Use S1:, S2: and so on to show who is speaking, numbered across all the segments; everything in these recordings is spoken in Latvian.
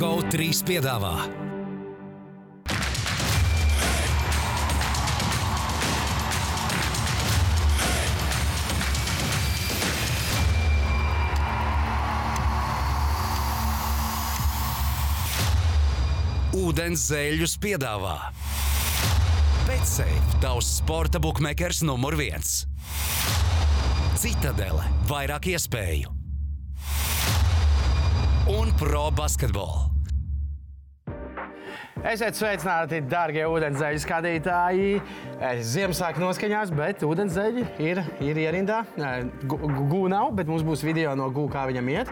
S1: GO3 piedāvā Ūdens zēļus piedāvā Betsafe, tavs sporta bukmekers numur viens. Citadele, vairāk iespēju un pro basketbolu.
S2: Esiet sveicināti, darbie ūdenzēļu skatītāji. Eh, Ziema sāk noskaņās, bet ūdenzēļi ir, ir ierindā. Eh, gu- gu- Gūna nav, bet mums būs video no gūna, kā viņam iet.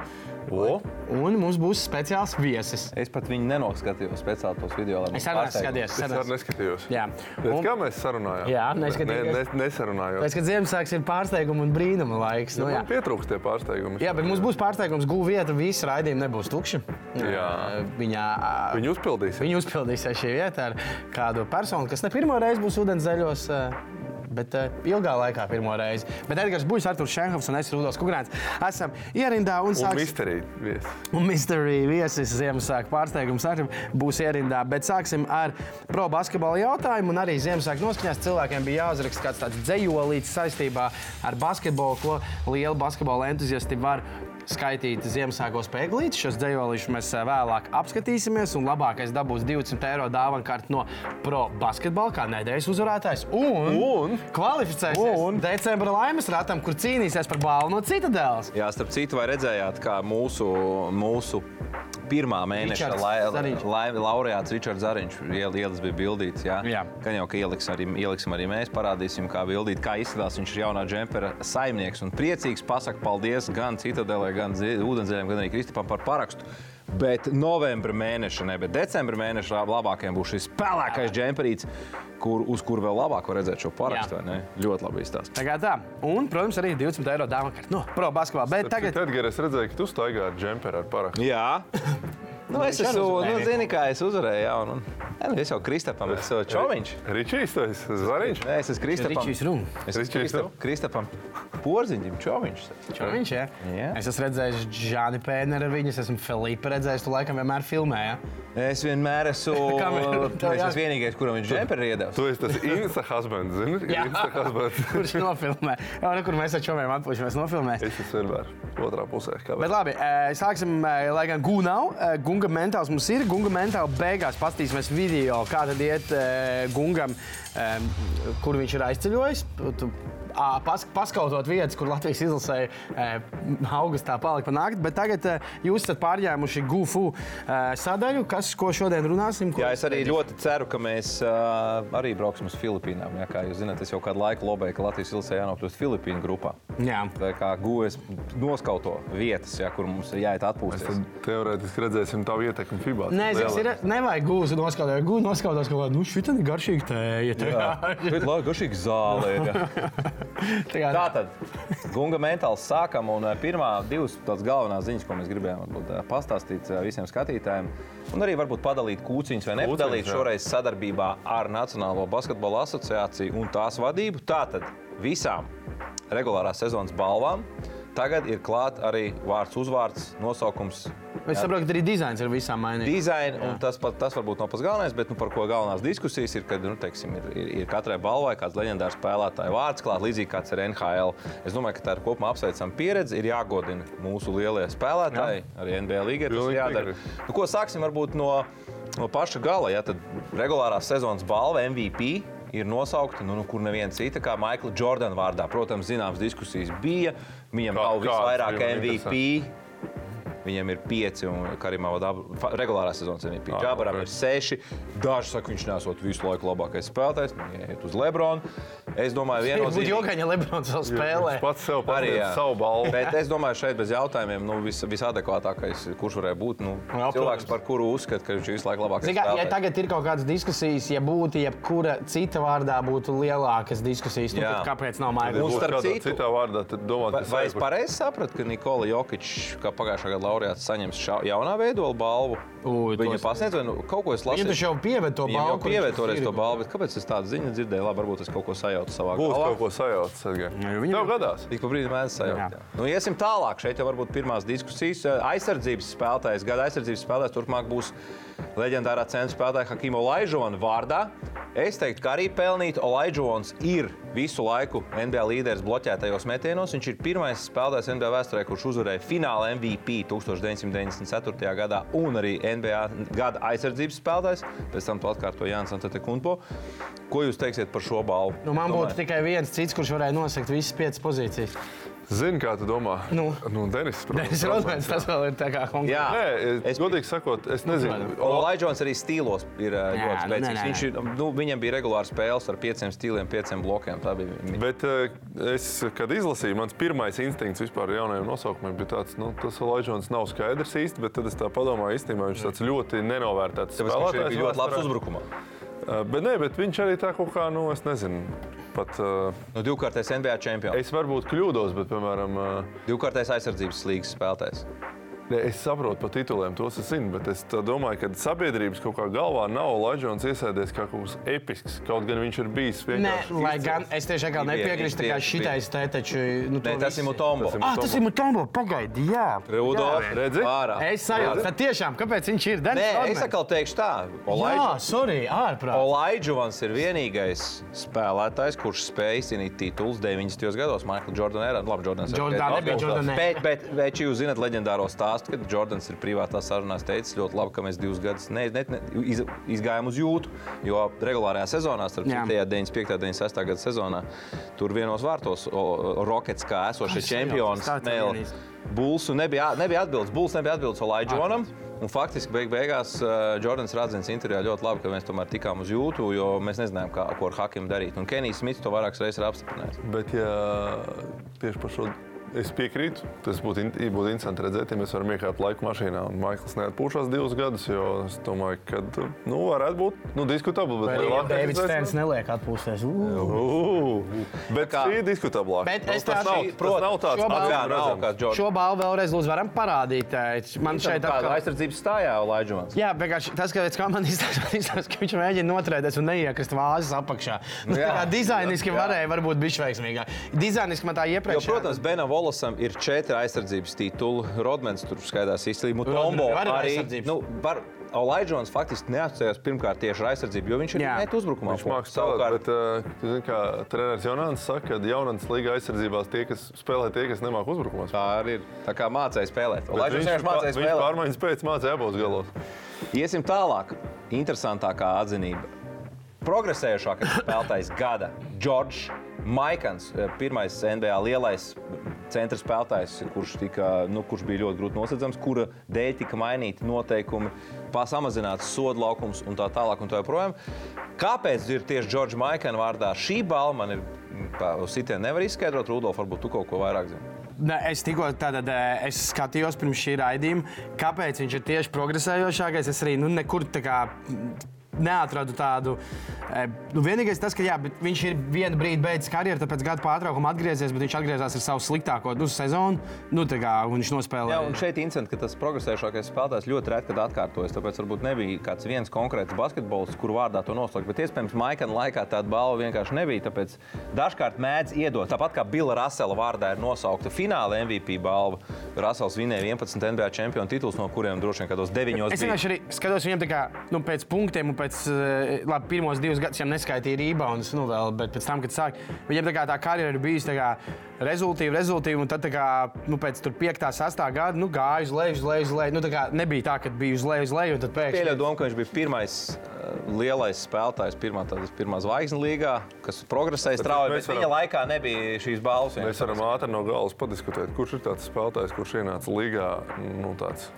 S3: O,
S2: Un mums būs speciāls viesis.
S3: es pat viņu nenoskatījos speciāli tos video. lai
S2: Es
S3: man
S2: arī esmu
S3: pārsteigums.
S2: skatījies.
S4: Es arī
S2: sarunās.
S4: neskatījos.
S2: Jā.
S4: Bet
S2: Un-
S4: kā mēs sarunājāmies?
S2: Jā,
S4: Ne,
S2: neskatīties.
S4: ne, nesarunājos.
S2: Pēc tam, kad Ziemassvētku ir pārsteiguma un brīnuma laiks. Nu,
S4: Nu,
S2: jā.
S4: man pietrūkst tie pārsteigumi.
S2: jā, bet mums būs pārsteigums, gūna vieta, visi raidījumi nebūs tukši.
S4: Jā.
S2: Eh, Viņā, eh,
S4: Viņi uzpildīs.
S2: Viņi uzpildīs šī vieta ar kādu personu, kas ne pirmo reizi būs ūdenzēļos. eh, Bet eh, ilgā laikā pirmo reizi. Bet Edgars Buļs, Arthurs Šenhovs un es Rudolf Kungrāns esam ierindā un
S4: Un
S2: sāksim.
S4: misterīgi viesi.
S2: Un misterija viesis Ziemassvētku pārsteigums arī būs ierindā. Bet sāksim ar pro basketbalu jautājumu. Un arī Ziemassvētku noskaņās cilvēkiem bija jāuzraksta kāds tāds dzējolīts saistībā ar basketbolu, ko liela basketbola entuziasti var. Skaitīt Ziemassvētkos pēglītes. Šos dzējolīšus mēs eh, vēlāk apskatīsimies. Un labākais dabūs 200 eiro dāvana kārtu no Pro basketbalu, kā nedēļas uzvarētājs. Un, un? kvalificēsies un? decembra laimes ratam, kur cīnīsies par balvu no citadēlas.
S3: Jā, starp citu, vai redzējāt, kā mūsu, mūsu pirmā mēneša
S2: Ričards
S3: lai-
S2: Zariņš.
S3: lai- laureāts Ričards Zariņš iel- ielas bija bildīts. Jā,
S2: Jā.
S3: Gan jau, ka ieliks arī, ieliksim arī mēs, parādīsim, kā bildīt, kā izskatās. Viņš ir jaunā džempera saimnieks un priecīgs. Pasaka paldies gan Citadelē, gan Zi- Ūdenzēm, gan arī Kristipam par parakstu. Bet novembra mēneša, ne, bet decembra mēneša labākajiem būs šis pelēkais džemperīts, kur, uz kur vēl labāk var redzēt šo parakstu.
S2: Jā.
S3: vai ne? Ļoti labi izstāstīts.
S2: Tā kā tā. Un, protams, arī 20 eiro dāvana kārta. Nu, pro basketbolā. Bet tagad.
S4: Tagad, kad es redzēju, ka tu staigā ar džemperi ar parakstu,
S3: Jā, nu, es
S2: viņš arī
S3: esmu.
S2: uzvarēja.
S3: Nu, zini, kā es uzvarēju. Jā, un, un, Nē, nu, es jau Kristapam esmu Čoviņš.
S4: Ričijs, tas ir Zariņš.
S3: Nē, es esmu Kristapam.
S2: Ričijs Rūms.
S3: Es esmu
S4: Ričijs
S3: Kristap,
S4: tev?
S3: Kristapam Porziņam, Čoviņš.
S2: Čo viņš ir?
S3: Jā.
S2: Es esmu redzējis Džāni Pēneru, viņas esmu Filipa redzējis, tu laikam vienmēr filmēji. Ja?
S3: Es vienmēr esmu.
S2: Kamerā,
S3: Es
S2: tev jā.
S3: esmu vienīgais, kuram viņš džemperi iedevis.
S4: Tu esi tas Insta husband, zini?
S2: Jā.
S4: Insta husband.
S2: Kurš nofilmē? Jā, re, kur mēs ar čomiem atpūšamies nofilmēt.
S4: Es esmu vienmēr otrā pusē.
S2: Bet
S4: Kāpēc?
S2: labi, eh, sāksim, eh, lai gan gūna nav. eh, Gunga mentāls mums ir. Gunga mentāla beigās paskatīsimies video, kā tad iet eh, gungam, eh, kur viņš ir aizceļojis. Tu- ā, pas- Paskautot vietas, kur Latvijas izlasē eh, augustā palika pa nakti, bet tagad eh, jūs esat pārņēmuši gufu eh, sadaļu, kas, ko šodien runāsim. ko
S3: Jā,
S2: jūs
S3: es arī
S2: skatīs-
S3: ļoti ceru, ka mēs uh, arī brauksim uz Filipīnām. Jā, kā jūs zināt, es jau kādu laiku lobēju, ka Latvijas Ilsē jānokļūst Filipīnu grupā.
S2: Jā.
S3: Tā kā gūs noskauto vietas, jā, kur mums ir jāiet atpūsties.
S4: Teorētiski redzēsim tavu ietekmi FIBA.
S2: Nē, zinu, ir, nevajag gūstu noskaidrot. Gūstu noskaidrot, ka nu, šī ir garšīga tēja. Tā
S3: Bet labi, ka šī zāle ir. jā.
S2: kā
S3: Tā tad, Gunga mentāls sākam, un eh, pirmā divas tās galvenās ziņas, ko mēs gribējām varbūt, eh, pastāstīt eh, visiem skatītājiem, un arī varbūt padalīt kūciņus vai nepadalīt
S4: jā.
S3: šoreiz sadarbībā ar Nacionālo basketbola asociāciju un tās vadību. Tātad visām regulārās sezonas balvām tagad ir klāt arī vārds, uzvārds, nosaukums.
S2: Es saprotu, ka arī dizains ir visām mainīgs.
S3: Dizaina, un tas, pat, tas varbūt nav pats galvenais, bet nu, par ko galvenās diskusijas ir, kad nu, teiksim, ir, ir, ir katrai balvai kāds leģendārs spēlētāja vārds klāts, līdzīgi kāds ir NHL. Es domāju, ka tā ir kopumā apsveicama pieredze. Ir jāgodina mūsu lielie spēlētāji, Jā. arī NBA līnija. Tas
S4: Pilnīgi
S3: ir jādara. Nu, ko sāksim varbūt no, no paša gala? Ja, tad regulārās sezonas balva MVP. Ir nosaukta, nu, nu, kur neviena cita, kā Maikla Jordana vārdā. Protams, zināmas diskusijas bija. Viņam
S4: Kā-
S3: nav
S4: kāds
S3: visvairāk
S4: bija, man
S3: MVP, Viņam ir pieci, un Karimā vadībā regulārā sezonas MVP.
S4: Ah,
S3: Džabaram
S4: ok.
S3: ir seši. Daži saka, viņš nesot visu laiku labākais spēlētājs. Man Iet uz Lebronu. Es domāju,
S2: Būtu
S3: vienotīgi.
S2: jokaini, ja Lebrons vēl spēlē.
S4: Viņš pats
S3: Arī
S4: sev
S3: jā.
S4: pārējā savu balvu.
S3: Bet es domāju, šeit bez jautājumiem nu, vis, visadekvātākais, kurš varētu būt nu,
S2: Jā, protams.
S3: cilvēks, par kuru uzskata, ka viņš ir visu laiku labākais.
S2: Zin Kā, ja
S3: spēlētājs.
S2: tagad ir kaut kādas diskusijas, ja būtu jebkura cita vārdā, būtu lielākas diskusijas. Nu,
S3: Jā.
S2: tad kāpēc nav
S3: Un
S2: maigā?
S3: Mums-
S4: Būs
S3: Nu, starp
S4: kādā
S3: citu-
S4: Citā vārdā, tad domā,
S3: Vai,
S4: ka
S3: vai es pareizi sapratu, ka Nikola Jokičs, kā pagājušā gada laureāts, saņems šā, jaunā veidola balvu?
S2: Ui,
S3: Viņa
S2: tos-
S3: pasniedz vai nu, kaut ko es
S2: Viņam
S3: lasīju?
S2: taču jau pievērt to
S3: Viņam jau
S2: balvu. kur viņš
S3: pievietoties
S2: ir.
S3: to balvu, bet kāpēc es tādu ziņu dzirdēju? Labi, varbūt es kaut ko sajaucu. sajauta savā
S4: Būs
S3: galvā.
S4: kaut kas sajauts, Sergei.
S2: Nu, viņam
S4: Tev
S2: ir-
S4: gadās.
S3: Ik pa brīdim mēdz sajaukt.
S2: Jā.
S3: jā. Nu, iesim tālāk. Šeit jau varbūt pirmās diskusijas. Eh, Aizsardzības spēlētājs, gada aizsardzības spēlētājs turpmāk būs leģendārā centra spēlētāja Hakimo Laižona vārdā. Es teiktu, ka arī pelnīt Olaidžons ir visu laiku NBA līderis bloķētajos metienos. Viņš ir pirmais spēlētājs NBA vēsturē, kurš uzvarēja fināla MVP 1994. gadā un arī NBA gada aizsardzības spēlētājs. Pēc tam to atkārtoja Jānis Antetokounmpo. Ko jūs teiksiet par šo balvu?
S2: Nu, man
S3: Domājat?
S2: būtu tikai viens cits, kurš varēja nosakt visas piecas pozīcijas.
S4: Zini, kā tu domā?
S2: Nu?
S4: nu Denis, protams.
S2: Es domāju, tas vēl ir tā kā konkrēti.
S3: Jā.
S4: Nē,
S3: Es-
S4: es, godīgi sakot, es nezinu.
S3: Olaidžons arī stīlos ir ā,
S2: Jā, nu,
S3: ļoti
S2: nē,
S3: spēcīgs.
S2: nē,
S3: Viņš ir, nu, viņam bija regulāra spēles ar pieciem stīliem, pieciem blokiem. Tā bija viņa.
S4: Bet eh, es, kad izlasīju, mans pirmais instinkts vispār ar jaunajiem nosaukumiem bija tāds, nu, tas Olaidžons nav skaidrs īsti, bet tad es tā padomāju, īstenībā viņš tāds ļoti nenovērtēts.
S3: Tāpēc viņš arī bija ļoti labs
S4: vēsturē.
S3: uzbrukumā.
S4: Eh, Bet, nē, bet viņš arī tā kaut kā, nu, es nezinu. Pat, eh,
S3: Nu, divkārtais NBA čempions,
S4: es varbūt kļūdos, bet, piemēram, eh,
S3: divkārtais aizsardzības līnijas spēlētājs.
S4: Ne, es saprotu par tituliem, tos es zinu, bet es tā domāju, ka sabiedrības kaut kā galvā nav Latvijas iesēdies kā kaut kas episks. Kaut gan viņš ir bijis
S2: Nē,
S4: vienkārši.
S2: lai gan es tieši atkal
S3: Bija,
S2: nepiekrītu, tā kā
S3: bija, bija.
S2: šitais te taču. Nu, to
S3: Nē, tas
S2: visi-
S3: ir Mutombo.
S4: Tas ir
S2: Ah, tas ir Mutombo, pagaidi, jā.
S3: Rudolf,
S4: Jā, redzi?
S3: Ārā.
S2: Es sajaucu, tad tiešām, kāpēc viņš ir Denis?
S3: Nē,
S2: Rodmans?
S3: es atkal teikšu tā.
S2: Jā,
S3: Olaidžons-
S2: sorry, ārprāt.
S3: Olaidžons ir vienīgais spēlētājs, kurš spēja izcīnīt titulus 90. gados. Michael Jordan era. Labi, Jordans ir
S2: Jordan
S3: labi,
S2: nebija,
S3: labi,
S2: Jordan ne.
S3: Bet, bet, bet jūs zināt leģendāro stāstu, kad Jordans ir privātā sarunā teicis, ļoti labi, ka mēs divus gadus ne, ne, ne, iz, izgājām uz jūtu, jo regulārajā sezonā, starp
S2: Jā.
S3: citu, tajā 95. un 96. gada sezonā, tur vienos vārtos o, o, Rockets kā esošie
S2: Kas
S3: čempioni
S2: sajaucas? Tā tev
S3: smēla.
S2: vienīgs.
S3: Bulsu nebija, nebija atbildes. Bulls nebija atbildes Olaidžonam. Un faktiski beig beigās uh, Jordans Radzins intervijā ļoti labi, ka mēs tomēr tikām uz jūtu, jo mēs nezinājām, kā, ko ar Hakiem darīt. Un Kenijs Smits to vairākas reizes ir apstiprinājis.
S4: Bet, ja tieši par šo es piekrītu, tas būtu, in, būtu interesanti redzēt, ja mēs varam iekāpt laika mašīnā. Un Maikls neatpūšas divus gadus, jo es domāju, ka nu, varētu būt nu, diskutabli. Bet,
S2: Arī
S4: labāk
S2: Davids
S4: redzēsim.
S2: Stēns neliek atpūsties. Ū.
S4: Ū, bet
S3: Kā?
S4: kā ir diskutablāk?
S2: Bet es
S4: tas
S2: tā-
S4: nav,
S2: šī-
S4: tas nav tāds
S2: šo balvu-
S3: Jā, nav
S4: redzams.
S3: kāds Jordans.
S2: Šo balvu vēlreiz lūdzu varam parādīt. ē, Man
S3: Šeit
S2: šeit
S3: tāda
S2: atkal...
S3: aizsardzības stājā Olaidžons.
S2: Jā, vienkārši tas, ka pēc kā man izstāsta, izstāsta, ka viņš mēģina notrēdēties un neiekrist vāzes apakšā. Nu,
S3: Jā.
S2: jā, tā kā dizainiski
S3: Jā.
S2: varēja būt bijis veiksmīgāk. Dizainiski man tā
S3: Jo,
S2: iepriekš.
S3: protams, Benam Volasam ir četri aizsardzības tituli. Rodmans tur skaidrs izcīnījis. Tombo
S2: Rodmans arī ir
S3: arī.
S2: aizsardzības.
S3: Nu, var, Olaidžons faktiski neatcerējās pirmkārt tieši ar aizsardzību, jo viņš ir
S2: Jā.
S3: net uzbrukumā.
S4: Viņš mākslinieks savukārt, bet, eh, tu zini, kā treneris Jaunants saka, ka jaunants līga aizsardzībās tie, kas spēlē, tie, kas nemāk uzbrukumā.
S3: Tā arī ir. Tā kā mācīja spēlēt.
S4: Bet
S3: Olaidžons vienkārši
S4: pār-
S3: mācīja
S4: viņš
S3: spēlēt.
S4: pārmaiņas pēc mācīja abos galos.
S3: Iesim tālāk. Interesantākā atzinība. Progresējošākais spēlētājs gada - Džordžs Maikans, eh, pirmais NBA lielais centra spēlētājs, kurš, tika, nu, kurš bija ļoti grūti nosedzams, kura dēļ tika mainīti noteikumi, pasamazināts sodu laukums un tā tālāk. Un tā joprojām. Kāpēc ir tieši Džordža Maikana vārdā šī balva? Man ir tā, uz sitienu nevar izskaidrot. Rudolf, varbūt tu kaut ko vairāk zini.
S2: Nē, es tikko tātad, eh, es skatījos pirms šī raidījuma, kāpēc viņš ir tieši progresējošākais. Es arī nu, nekur tā kā. mm, Neatradu tādu. eh, Nu, vienīgais tas, ka jā, bet viņš ir vienu brīdi beidzis karjeru, tāpēc gada pārtraukuma atgriezies, bet viņš atgriezās ar savu sliktāko nu, sezonu. Nu, tā kā un viņš
S3: Jā,
S2: nospēlēja.
S3: un šeit incidents, ka tas progresējošākais spēlētājs ļoti reti kad atkārtojas. Tāpēc varbūt nebija kāds viens konkrēts basketbolists, kur vārdā to nosaukt. Bet iespējams, Maikana laikā tāda balva vienkārši nebija. Tāpēc dažkārt mēdz iedot. Tāpat kā Bila Rasela vārdā ir nosaukta fināla MVP balva, Rasels vinēja 11 NBA čempionu titulus, no kuriem droši vien kādos deviņos
S2: Es
S3: bija.
S2: vienkārši arī skatos viņam tā kā, nu, pēc punktiem, un pēc, eh, labi, pirmos divus gadus viņam neskaitīja rebounds, nu, vēl, bet pēc tam, kad sāk, viņam tā kā tā karjera ir bijusi tā kā rezultīva, rezultīva, un tad tā kā, nu, pēc tur piektā, sastā gada, nu, gāja uz leju, uz leju, uz leju, nu, tā kā nebija tā, ka bija uz leju, uz leju, un tad pēkšņi.
S3: Pieļauju domu, ka viņš bija pirmais eh, lielais spēlētājs, pirmā, tādas, pirmā zvaigznes līgā, kas progresēja strauji.
S4: mēs
S3: Bet viņa laikā nebija šīs balvas.
S4: Mēs varam ātri no galvas padiskutēt, kurš ir tāds spēlētājs, kurš ienāca līgā nu, tāds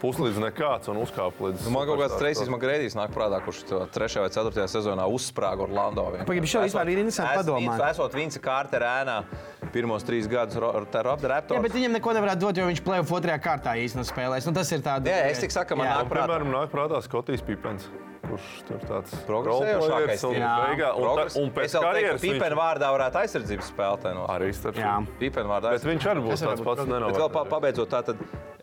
S4: puslīdz nekāds un uzkāpa līdz.
S3: Nu, man kaut kāds
S4: superstar-
S3: Treisijas Magrēdijas nāk prātā, kurš to trešajā vai ceturtajā sezonā uzsprāga Orlando.
S2: Pagaid, bet šo vispār ir interesanti padomāt.
S3: Es, esot Vince Kārtera ēnā pirmos trīs gadus ar
S2: Jā, bet
S3: Raptoru.
S2: viņam neko nevarētu dot, jo viņš plēsoja otrajā kārtā īstenībā spēlēs. Nu, tas ir tāds.
S3: Jā, es tik saku, man
S2: Jā.
S3: nāk prātā.
S4: Piemēram, nāk prātā Skotijas Pipens, kurš tur tāds
S3: Progresējošākais
S4: roleplayers un,
S3: ir.
S2: Jā.
S4: beigā- un,
S3: Progress-
S4: tā- un pēc
S3: Es vēl teiktu,
S4: karjeras
S3: ka Pipena
S4: viņš
S3: vārdā varētu aizsardzības spēlētāju nosaukt.
S4: arī starp.
S2: Jā.
S3: Pipena vārdā
S4: Bet viņš arī būs
S2: Tas varētu
S4: tāds
S2: būt
S4: pats
S2: progress.
S3: Bet vēl pa,
S4: nenovērtējis.
S3: pabeidzot, tātad,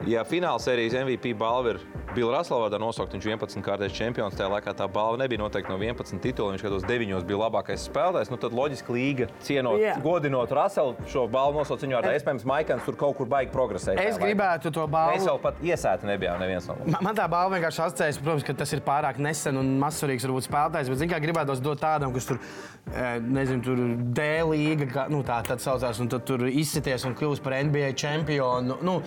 S3: ja finālsērijas MVP balva ir Bila Raslava vārdā nosaukt, viņš 11 kārtas čempions. Tajā laikā tā balva nebija noteikti no 11 tituliem. Viņš kādos 9 bija labākais spēlētājs. Nu, tad loģiski līga cienot,
S2: Jā.
S3: yeah. godinot Raselu šo balvu nosaukt viņu vārdā. Iespējams, Maikans tur kaut kur baigi progresēja.
S2: Es
S3: tajā laikā.
S2: gribētu to
S3: Mēs
S2: balvu.
S3: jau pat iesēti nebijām neviens no mums.
S2: Man man tā balva vienkārši asociējas, protams, ka tas ir pārāk nesen un mazsvarīgs varbūt spēlētājs, bet, zināmā mērā, gribētos dot tādam, kurš tur, eh, nezinu, tur D līga, kā- nu, tā tad saucās, un tad tur izsities un kļūst par NBA čempionu. Nu,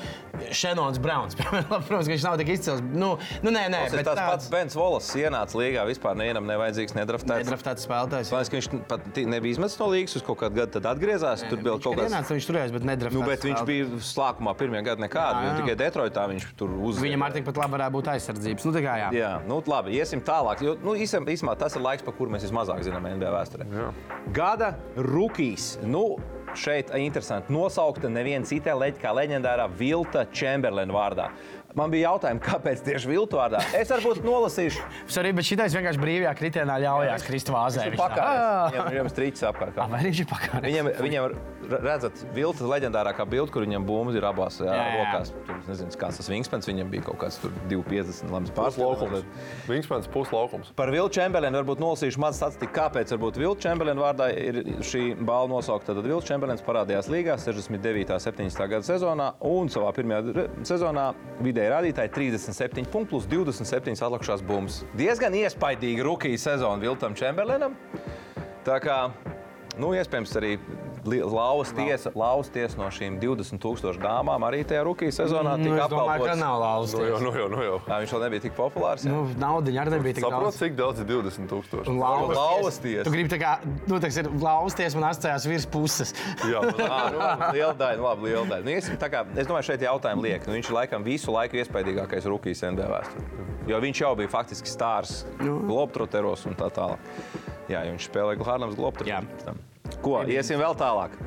S2: Šenons Browns, piemēram, protams, ka viņš nav tik izcils. Nu, nu nē, nē,
S3: Tas ir tas pats Bens Volas ienāca līgā. Vispār nevienam nevajadzīgs nedraftēts.
S2: Nedraftēts spēlētājs.
S3: Man liekas, ka viņš pat ti- nebija izmetis no līgas uz kaut kādu gadu, tad atgriezās. Tur bija
S2: Viņš
S3: kaut
S2: kad
S3: kāds.
S2: ienāca, viņš turējās, bet nedraftēts.
S3: Nu, bet viņš
S2: spēlētājs.
S3: bija slāpumā pirmie gadi
S2: Jā,
S3: nekādi. un
S2: jā.
S3: Tikai Detroitā viņš tur uzvarēja.
S2: Viņam arī tikpat labi varētu būt aizsardzības. Nu, tā kā jā.
S3: Jā, nu, labi, iesim tālāk. Jo, nu, īsam- īsumā tas ir laiks, par kuru mēs vismazāk zinām NBA vēsturē. Jā. Gada rookies. Nu, šeit interesanti nosaukta neviena cita leģenda, kā leģendārā Vilta Čemberlina vārdā. Man bija jautājums, kāpēc tieši Vilta vārdā? Es varbūt nolasīšu.
S2: Sorry, bet šitais vienkārši brīvajā kritienā ļaujās krist vāzē.
S3: Viņš Ah!
S2: Viņš tā,
S3: ir pakāpies.
S2: "Ā!"
S3: Viņam- Viņam ir strīds apkārt.
S2: Ā, Vai viņš ir pakāpējis?
S3: Viņam, viņam ir, re- redzat, vilta leģendārākā bilde, kur viņam bumbiņas ir abās jā, jā,
S2: Jā, jā.
S3: jā. rokās. Tur nezinu, kāds tas wingspans viņam bija kaut kāds tur 250 labs
S4: Puslaukums.
S3: pārspēlējums.
S4: Viņš pēc puslaukums.
S3: Par Vilnu Čemberlinu varbūt nolasīšu maz statistiku, kāpēc varbūt Vilnu Čemberlinu vārdā ir šī balva nosaukta. Tad Vilnu Čemberlins parādījās līgā 69. un 70. gada sezonā un savā pirmajā re- sezonā vidēji rādītāji 37 punktus plus 27 atlikušās bumbas. Diezgan iespaidīga rookie sezona Viltam Čemberlinam. Tā kā, nu, iespējams, arī li- lauvas tiesa, lauvas tiesa no šīm 20,000 dāmām arī tajā rookie sezonā
S2: Nu,
S3: tika
S2: es domāju, ka
S3: apbalvots.
S2: nav
S4: Nu
S2: lauzties.
S4: jau, nu jau, nu jau.
S3: Jā, Viņš vēl nebija tik populārs. jā.
S2: Nu, naudiņa arī nebija tik
S4: Saprot,
S2: daudz.
S4: cik daudz ir 20 tūkstoši?
S2: Un lauzties-
S3: Lauzties.
S2: Tu gribi tā kā, nu, tā ir lausties, man atstājās virs puses.
S4: Jā, nu,
S3: Ā, nu, labi, Liela daļa, labi, liela daļa. Nu, iesim, tā kā, es domāju, šeit jautājumu liek. Nu, viņš ir laikam visu laiku iespaidīgākais rookies NBA vēsturē. Jo viņš jau bija faktiski stārs Globtroteros un tā tālāk. Jā, jo viņš spēlēja Glārnams
S2: Jā.
S3: Globtroteros. Ko? Iesim vēl tālāk.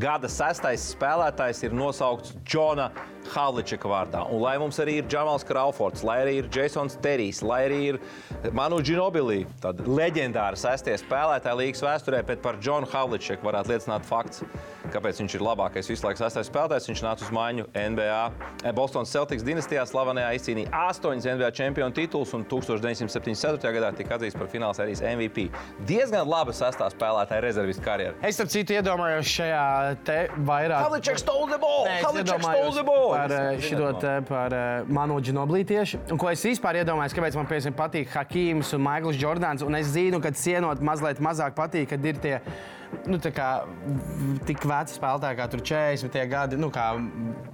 S3: Gada sestais spēlētājs ir nosaukts Džona Havličeka vārdā. Un, lai mums arī ir Džamals Kraufords, lai arī ir Jasons Terijs, lai arī ir Manu Ginobili, tad leģendāra sestie spēlētāji līgas vēsturē, bet par Džonu Havličeku varētu liecināt fakts, kāpēc viņš ir labākais visu laiku sestais spēlētājs. Viņš nāca uz maiņu NBA. Bostonas eh, Celtics dinastijā slavenajā izcīnīja astoņas NBA čempionu titulus un 1974. gadā tika atzīts par fināla sērijas MVP. Diezgan laba sestā spēlētāja rezervistu karjeru.
S2: Es tam citu iedomājos šajā te vairāk.
S3: Havlicek stole the ball!
S2: Nē, es
S3: Havlicek
S2: iedomājos
S3: stole the ball!
S2: Par eh,
S3: Es
S2: šito
S3: nezinu.
S2: te par eh, Manu Ginobili tieši. Un ko es vispār iedomājos, kāpēc man piemēram patīk Hakims un Maikls Jordāns. Un es zinu, ka cienot mazliet mazāk patīk, kad ir tie. Nu, tā kā v- tik veci spēlētāji, kā tur 40 gadi. Nu, kā,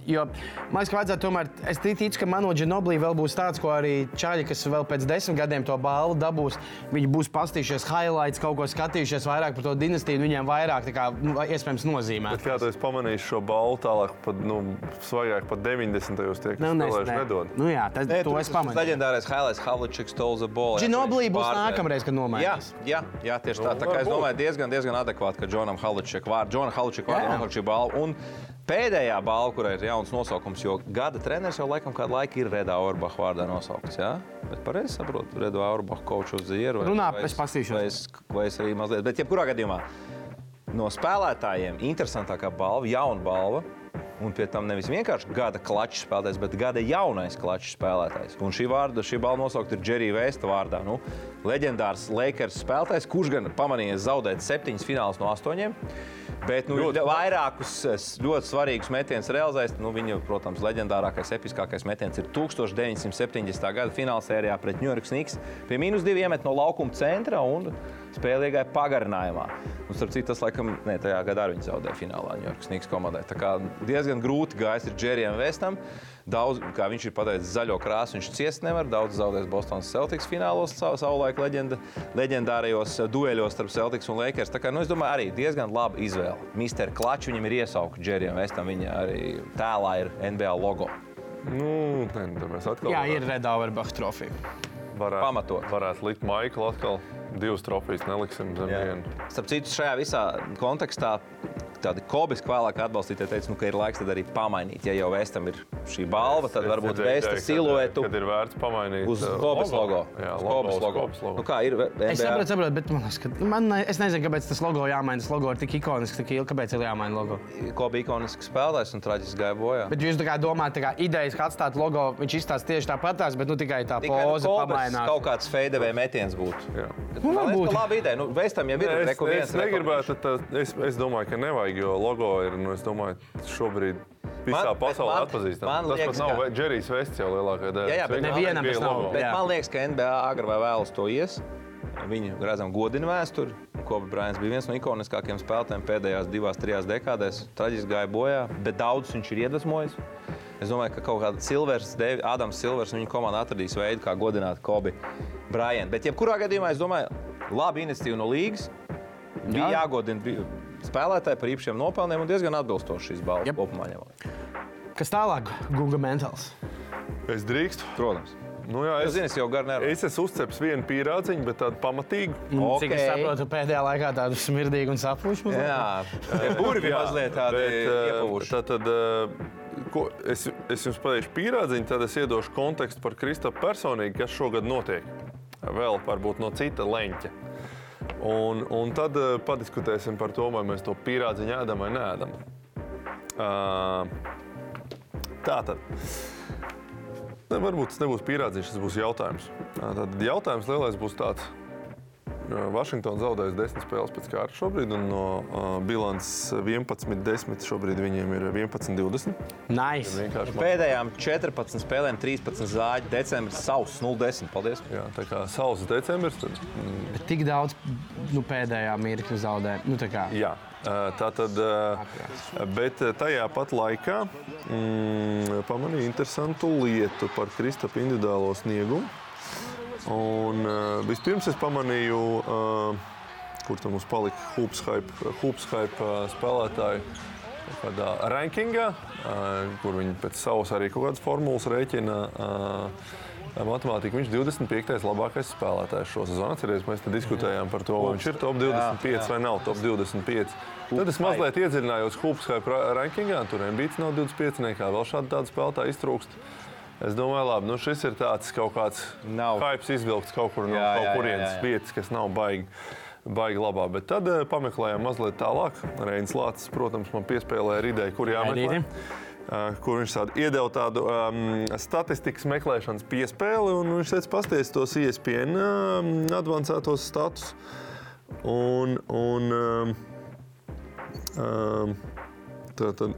S2: jo, man liekas, ka vajadzētu tomēr. Es ti- ticu, ka Manu Ginobili vēl būs tāds, ko arī čaļi, kas vēl pēc desmit gadiem to balvu dabūs. Viņi būs pastījušies, highlights, kaut ko skatījušies vairāk par to dinastiju. un Viņiem vairāk, tā kā, nu, iespējams, nozīmē.
S4: Bet kā tu esi pamanījis šo balvu tālāk, pat nu, svaigāk pat 90. gados tie, kas spēlējuši, nedod?
S2: Nu, jā, tas,
S3: Nē,
S2: to
S3: tur
S2: es
S3: tas
S2: pamanīju.
S3: Leģendārais Hailais Havlicek stole the ball. Jā,
S2: Ginobili
S3: viņš
S2: būs
S3: pārdeva.
S2: nākamreiz, kad nomainīs.
S3: Jā, jā, jā, tieši tā.
S4: Nu,
S3: tā kā es
S4: varbūt.
S3: domāju, diezgan, diezgan adekvāti, ka Džonam Halučekam vārds Džona Halučeka
S2: Jā.
S3: vārdā notiek šī balva. Un pēdējā balva, kurai ir jauns nosaukums, jo gada treneris jau laikam kādu laiku ir Reda Orbacha vārdā nosaukts. Jā? Bet pareizi saprotu, Reda Orbacha koču uz zieru. vai-
S2: Runā,
S3: vai
S2: es paskatīšos.
S3: Vai es, vai es arī mazliet, bet jebkurā gadījumā no spēlētājiem interesantākā balva, jauna balva. Un pie tam nevis vienkārši gada klača spēlētājs, bet gada jaunais klača spēlētājs. Un šī, vārda, šī balva nosaukta ir Džerija Vēsta vārdā. Nu, leģendārs Lakers spēlētājs, kurš gan pamanījies zaudēt septiņas finālus no astoņiem. Bet nu,
S4: Ļoti
S3: ļoti vairākus es, ļoti svarīgus metienus realizējis. Nu, viņa, protams, leģendārākais, episkākais metiens ir 1970. gada finālsērijā pret Ņujorka Snigs. Pie mīnus diviem iemet no laukuma centra un spēlīgai pagarinājumā. Un, starp citu, tas laikam ne, tajā gadā arī viņi zaudēja finālā Ņujorka Snigs komandai. Tā kā diezgan grūti gājis ir Džerijam Vestam. Daudz, kā viņš ir pateicis, zaļo krāsu viņš ciest nevar. Daudz zaudēs Bostonas Celtics finālos, savu, savulaik leģenda, leģendārajos eh, dueļos starp Celtics un Lakers. Tā kā, nu, es domāju, arī diezgan laba izvēle. Mister Klačs viņam ir iesaukts Džerijam Vestam, viņa arī tēlā ir NBA logo.
S4: Nu, nē, nu, tad mēs atkal
S2: Jā, ir Redauerbach trofija.
S4: varētu,
S3: pamatot.
S4: Varētu likt Maiklu atkal. Divas trofejas neliksim zem vienu.
S3: Starp citu, šajā visā kontekstā tādi kobiski vēlāk atbalstītāji teica, nu, ka ir laiks tad arī pamainīt, ja jau Vestam ir šī balva tad varbūt vēsta siluetu
S4: Tad ir vērts pamainīt
S3: uz
S4: uh,
S3: Kobas logo.
S4: Jā,
S3: Uz
S4: logo,
S3: Kobas
S4: uz
S3: logo.
S4: Kobas logo.
S3: Nu, kā ir NBA?
S2: Es saprotu, saprotu, bet man liekas, ka nu, man, ne- es nezinu, kāpēc tas logo jāmaina. Tas logo ir tik ikonisks, tik ilgi, kāpēc ir jāmaina logo.
S3: Kobe ikonisks spēlētājs un traģiski gāja bojā.
S2: Bet jūs tā kā domājat, ka idejas atstāt logo, viņš izstāsta tieši tāpatās, bet nu tikai tā
S3: Tikai nu,
S2: poza
S3: Kobas
S2: pamainās.
S3: kaut kāds feidevē metiens būtu.
S4: Jā.
S2: Nu,
S3: Man liekas,
S2: varbūt.
S3: ka laba ideja. Nu, Vēstam jau ir
S4: Es,
S3: reku viens,
S4: es
S3: reku-
S4: negribētu, tā, es, es domāju, ka nevajag, jo logo ir, nu, es domāju, šobrīd visā
S3: Man- bet
S4: pasaulē
S3: man-
S4: atpazīstams.
S3: man
S4: Tas
S3: liekas,
S4: pat nav
S3: ka-
S4: ve- Džerijs Vests jau lielākā daļa.
S3: Jā, jā, bet
S2: nevienam tas nav.
S3: Bet
S2: Jā.
S3: man liekas, ka NBA agrāk vai vēlāk to ies. Viņu redzam godina vēsturi. Kobe Bryants bija viens no ikoniskākajiem spēlētājiem pēdējās divās, trijās dekādēs. Traģiski gāja bojā, bet daudzus viņš ir iedvesmojis. Es domāju, ka kaut kāda Silvers, Devi- Ādams Silvers un viņa komanda atradīs veidu, kā godināt Kobe Bryantu. Bet jebkurā gadījumā es domāju, labi iniciatīva no līgas. Bija
S2: Jā.
S3: jāgodina bi- spēlētāji par īpašiem nopelniem un diezgan atbilstoši šīs balvas
S2: Jep.
S3: kopumā ņemot.
S2: Kas tālāk? Google Mentals.
S4: Es drīkstu.
S3: Protams.
S4: Nu, jā,
S3: Es
S4: es,
S3: zinu, es jau garu nerunāju.
S4: es esmu uzceps vienu pīrādziņu, bet tādu pamatīgu.
S2: Okay. Nu, Cik es
S3: Okei.
S2: saprotu, pēdējā laikā tādu smirdīgu un sapušu.
S3: Jā, eh, tie burvi mazliet tādi iepūši.
S4: eh, tā tad. eh, Ko, es, es jums pateikšu pīrādziņu, tad es iedošu kontekstu par Kristofru personīgi, kas šogad notiek. Vēl varbūt no cita leņķa. Un, un tad eh, padiskutēsim par to, vai mēs to pīrādziņu ēdam vai nē. Uh, tā tad. Ne, varbūt tas nebūs pierādījums, tas būs jautājums. Tā, Tad jautājums lielais būs tāds. Vašingtona zaudējusi Eh, desmit spēles pēc kārtas šobrīd, un no uh, bilances 11, 10. Šobrīd viņiem ir 11, 20.
S2: Nice.
S4: Vienkārši man-
S3: Pēdējām 14 spēlēm, 13 zāģi, decembris, sauss 0-10. Paldies!
S4: Jā, tā kā saules decembris. Tad,
S2: Bet tik daudz nu, pēdējā mirkļa zaudē. Nu, tā kā.
S4: jā, uh, tā tad. Uh, bet uh, tajā pat laikā mm, pamanīju interesantu lietu par Kristapam individuālo sniegumu. Un uh, vispirms es pamanīju, uh, kur tam mums palika Hoops Hype, Hoops Hype uh, spēlētāji. Kādā rankingā, uh, kur viņi pēc savas arī kaut kādas formulas rēķina uh, matemātiku, viņš ir 25. labākais spēlētājs šo sezonu. Atcerieties, mēs te diskutējām par to, vai viņš ir top 25 jā, jā. vai nav top 25. Tad es mazliet iedziļinājos Hoops Hype ra- rankingā, tur MBC nav 25, nekā vēl šāda tāda spēlētāja iztrūkst. Es domāju, labi, nu šis ir tāds kaut kāds
S3: Nav.
S4: hypes izvilkts kaut kur no
S3: Jā, jā,
S4: kaut
S3: jā,
S4: kurienes
S3: jā, jā.
S4: vietas, kas nav baigi. Baigi labā, bet tad eh, pameklējām mazliet tālāk. Reinas Lācis, protams, man piespēlēja arī ideju, kur jāmeklē.
S2: Raidīti.
S4: eh, Kur viņš tādu iedeva tādu um, statistikas meklēšanas piespēli, un viņš teica, pasties tos E ISPN um, advancētos status. Un, un um, um, tā tad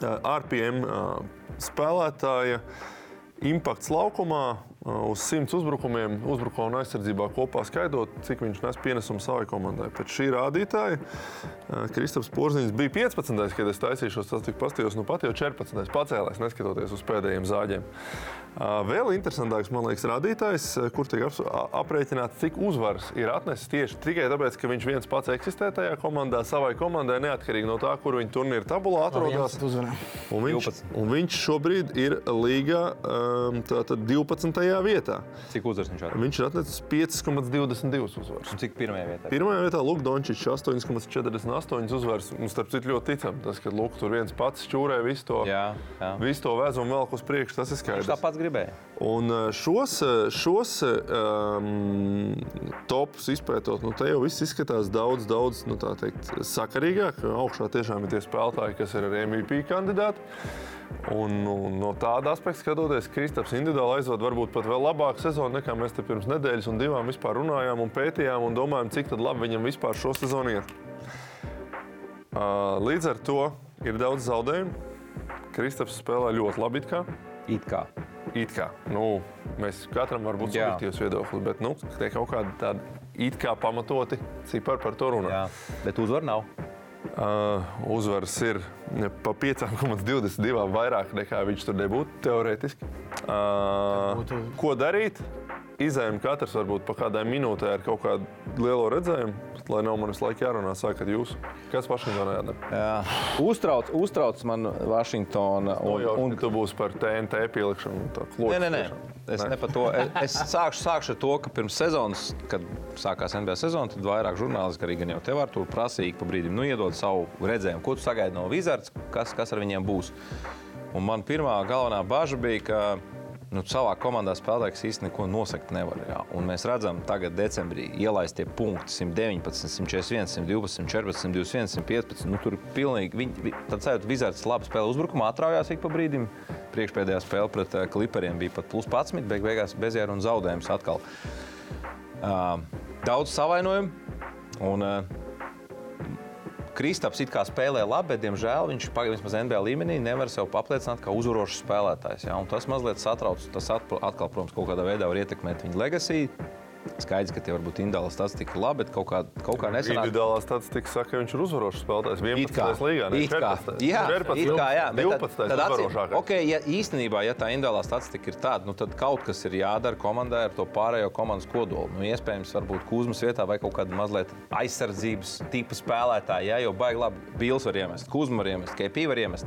S4: Eh, RPM ā, eh, spēlētāja impakts laukumā ā, uz 100 uzbrukumiem, uzbrukumā un aizsardzībā kopā skaidrot, cik viņš nes pienesumu savai komandai. Pēc šī rādītāja ā, Kristaps Porziņš bija 15. kad es taisīšos, tas tika pastījos, nu pat jau 14. pacēlēs, neskatoties uz pēdējiem zāģiem. Ā, Vēl interesantāks, man liekas, rādītājs, ā, kur tiek apsu- a- aprēķināts, cik uzvaras ir atnesis tieši tikai tāpēc, ka viņš viens pats eksistē tajā komandā, savai komandai, neatkarīgi no tā, kur viņa turnīra tabulā atrodas.
S2: Viens uzvarē.
S4: Un viņš, un viņš šobrīd ir līgā um, 12. vietā.
S3: Cik uzvaras viņš atradīs?
S4: Viņš ir atnesis 5,22 uzvaras.
S3: Cik pirmajā vietā?
S4: Pirmajā vietā Lukas Dončits 8,48 uzvaras. Un starp citu ļoti ticam, tas, ka Lukas tur viens pats čūrē visu to.
S3: Jā, jā.
S4: Visu to vēzumu vēl uz priekšu, tas ir
S3: Viņš
S4: skaidrs.
S3: tāpat gribēja.
S4: Un eh, šos, eh, šos eh, um, topus izpētot, nu, te jau viss izskatās daudz, daudz nu, tā teikt, sakarīgāk. Augšā tiešām ir tie spēlētāji, kas ir arī MVP kandidāti. Un, nu, no tāda aspekta skatoties, Kristaps individuāli aizvada varbūt pat vēl labāku sezonu, nekā mēs te pirms nedēļas un divām vispār runājām un pētījām un domājām, cik tad labi viņam vispār šo sezonu iet. Ā, Līdz ar to ir daudz zaudējumu. Kristaps spēlē ļoti labi. it kā.
S3: It kā.
S4: It kā nu, mēs katram varam būt
S3: Jā.
S4: subjektīvs viedoklis, bet nu, tie kaut kādi tādi it kā pamatoti cipari par to runā.
S3: Jā. Bet uzvaru nav.
S4: Uh, uzvaras ir ne, pa 5,22 vairāk nekā viņš tur nebūtu teorētiski. Uh,
S2: būtu-
S4: ko darīt? izējām katrs varbūt pa kādai minūtē ar kaut kādu lielo redzējumu, lai nav man visu laiku jārunā, sākat jūs. Kas Vašingtonā jādara?
S3: Jā. Uztrauc, uztrauc man Vašingtona un,
S4: Un,
S3: un
S4: un tu būsi par TNT pielikšanu. un tā
S3: Nē,
S4: kloķu
S3: nē, nē.
S4: tiešām.
S3: Es, ne. to, es, es sākšu, sākšu ar to, ka pirms sezonas, kad sākās NBA sezona, tad vairāk žurnālisti, arī gan jau tev ar to prasīja, pa brīdim nu, iedod savu redzējumu, ko tu sagaidi no Wizards, kas, kas ar viņiem būs. Un man pirmā galvenā bažas bija, ka nu, savā komandā spēlētāji kas īstenībā neko nosakt nevar. Jā. Un mēs redzam, tagad decembrī ielaistie punkti 119, 141, 112, 14, 21, 115. Nu, tur ir pilnīgi, viņi, vi- tad sajūta, ka Vizards labi spēlē uzbrukumā, atraujās ik pa brīdim. Priekšpēdējā spēle pret ā, kliperiem bija pat plus 11, bet beigās bezjēra un zaudējums atkal. Uh, daudz savainojumu. Un, uh, Kristaps it kā spēlē labi, bet, diemžēl, viņš pag- vismaz NBA līmenī nevar sev apliecināt kā uzvarošs spēlētājs. Ja? Un Tas mazliet satrauc. Tas atpro- atkal, protams, kaut kādā veidā var ietekmēt viņa legacy. Skaidrs, ka tie varbūt indālas tas tik labi, bet kaut kā, kaut kā nesanāk.
S4: Individuālā statistika saka, ka viņš ir uzvarošs spēlētājs. 11. līgā, ne Nu,
S3: it kā,
S4: 14.
S3: jā,
S4: 14.
S3: it kā, jā, bet tad-
S4: 12.
S3: tad acīm-
S4: uzvarošākais.
S3: Okay, ja īstenībā, ja tā indālā statistika ir tāda, nu, tad kaut kas ir jādara komandai ar to pārējo komandas kodolu. Nu, iespējams, varbūt Kūzmas vietā vai kaut kāda mazliet aizsardzības tipa spēlētāja, ja, jo baigi labi Bils var iemest, Kūzma var iemest, KP var iemest.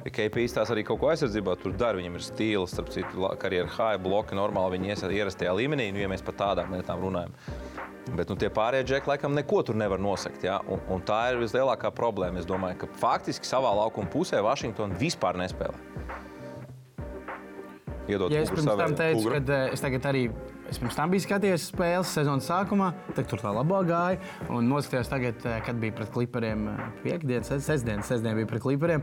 S3: KP izstāsta arī kaut ko aizsardzībā, tur dara. Viņam ir stils, starp citu, la- karjeras high, bloki, normāli viņi iesa ierastajā līmenī, nu, ja mēs par tādām lietām runājam. Bet nu, tie pārējie džekļi laikam neko tur nevar nosakt. Ja? Un, un tā ir vislielākā problēma. Es domāju, ka faktiski savā laukuma pusē Vašingtona vispār nespēlē. Iedod
S2: Ja es
S3: muguru
S2: pirms tam
S3: savējiem.
S2: teicu,
S4: Ugra.
S2: ka es tagad arī es pirms tam biju skatījies spēles sezonas sākumā, tad tur tā labā gāja. Un noskatījos tagad, eh, kad bija pret eh, klipriem piekdienas, sestdienas, sestdienas bija pret klipriem.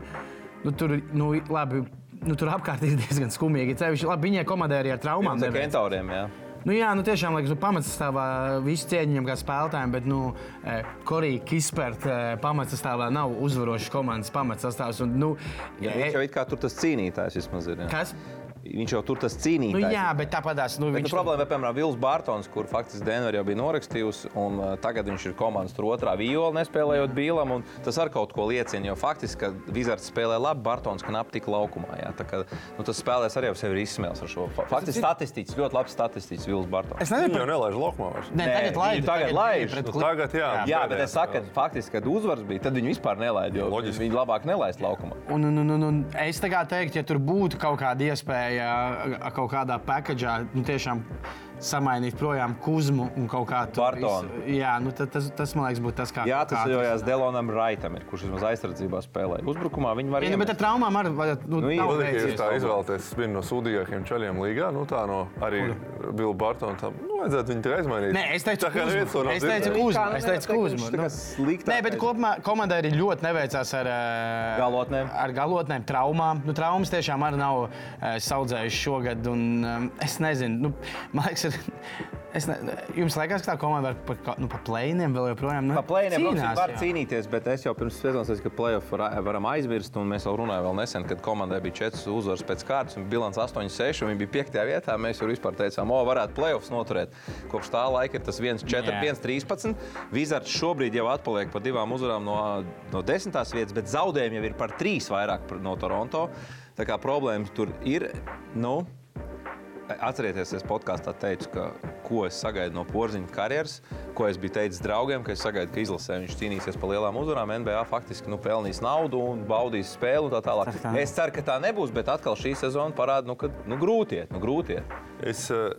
S2: Nu, tur, nu, labi, nu, tur apkārt ir diezgan skumīgi. Cevišķi, labi, viņai komandai arī ar traumām.
S3: Pirms ar
S2: neviens.
S3: Kentauriem. Jā.
S2: Nu, jā, nu tiešām liekas, nu, pamatsastāvā visu cieņu viņam kā spēlētājiem, bet nu, eh, Korija Kisperta eh, pamatsastāvā nav uzvarošas komandas pamatsastāvs. Un, nu,
S3: Jā,
S2: eh,
S3: viņš jau it kā tur tas cīnītājs vismaz ir. Jā.
S2: kas?
S3: Viņš jau tur tas cīnītājs.
S2: Nu,
S3: ir.
S2: jā, bet tāpatās nu,
S3: Bet nu,
S2: viņš
S3: problēma ir, piemēram, Vils Bārtaņs, kur faktiski Denver jau bija norakstījusi, un uh, tagad viņš ir komandas tur otrā viola, nespēlējot Bīlam. un Tas ar kaut ko liecina, jo faktiski, ka Vizards spēlē labi, Bārtaņs knap tik laukumā. Jā, tā kā, nu, tas spēlēs arī jau sevi ir izsmēlis ar šo. Fa- Faktiski statistiķis, ļoti labs statistiķis Vils Bārtaņs.
S2: Es nezinu,
S4: Viņu jau nelaiž laukumā vairs.
S2: Nē,
S3: Nē,
S2: tagad
S3: viņu
S2: laidu.
S3: tagad laiž.
S2: pret
S4: Nu,
S2: Clippers.
S4: Tagad jā.
S3: Jā,
S4: pēdējā
S3: bet es saku, ka
S4: spēlē.
S3: faktiski, kad uzvaras bija, tad viņi vispār nelaida.
S4: Loģiski.
S3: Viņi labāk nelaist laukumā.
S2: Un, un, un, un, un es tā kā teiktu, ja tur būtu kaut kāda iespēja ā, kaut kādā pakaļā nu, tiešām samainīt projām kuzmu un kaut kā tādu.
S3: Bartonu.
S2: Jā, nu, tad, tas, tas man liekas būtu tas, kā
S3: Jā, tas
S2: kā
S3: jau
S2: atrisināt.
S3: jās Delonam Raitam, ir, kurš vismaz aizsardzībā spēlē. Uzbrukumā viņi var
S2: Jā, nu, bet ar
S3: iemest.
S2: traumām arī nu, nu,
S3: Nu, jā,
S2: nav
S3: bet
S4: Patīk, ja
S2: veicies.
S4: jūs tā izvēlaties vienu no sūdīgākajiem čaļiem līgā. Nu, tā no arī Bila Bartona. tam, Nu, vajadzētu viņu tikai izmainīt.
S2: Nē, es teicu,
S4: tā kā neviens to
S2: Kuzma.
S4: nav
S2: Es teicu,
S4: dzirdējis.
S2: Kuzma.
S3: Kā, nu,
S2: Es teicu,
S3: nevar teikt,
S2: Kuzma.
S3: viņš tā
S2: nu.
S3: kā sliktākais.
S2: Nē, bet kopumā komandai arī ļoti neveicās ar ā,
S3: Galotnēm.
S2: Ar galotnēm, traumām. Nu, traumas tiešām arī nav ā, saudzējušas šogad. Un, ā, es nezinu, nu, man liekas, ir, es ne, jums liekas, ka tā komanda var par, kā- nu, pa plēniem vēl joprojām. Nu,
S3: Pa plēniem
S2: cīnās,
S3: protams, var
S2: jā.
S3: cīnīties, bet es jau pirms sezonas teicu, ka playoff ra- varam aizmirst. un Mēs jau runājām vēl nesen, kad komandai bija 4 uzvaras pēc kārtas, un bilants 8-6, un viņi bija 5. vietā. Mēs jau vispār teicām, o, varētu playoffs noturēt. Kopš tā laika ir tas 1-4,
S2: Jā.
S3: 1-13. Vizards šobrīd jau atpaliek par divām uzvarām no, no 10. vietas, bet zaudējumi jau ir par 3 vairāk par- no Toronto. Tā kā problēmas tur ir. Nu, Atcerieties, es podkāstā teicu, ka, ko es sagaidu no porziņa karjeras, ko es biju teicis draugiem, ka es sagaidu, ka izlasē viņš cīnīsies par lielām uzvarām. NBA faktiski nu, pelnīs naudu un baudīs spēli un tā
S2: Ceru,
S3: tālāk.
S2: ka tā nav.
S3: Es ceru, ka tā nebūs, bet atkal šī sezona parāda, nu, ka nu, grūti iet, nu, grūti iet.
S4: Es, eh,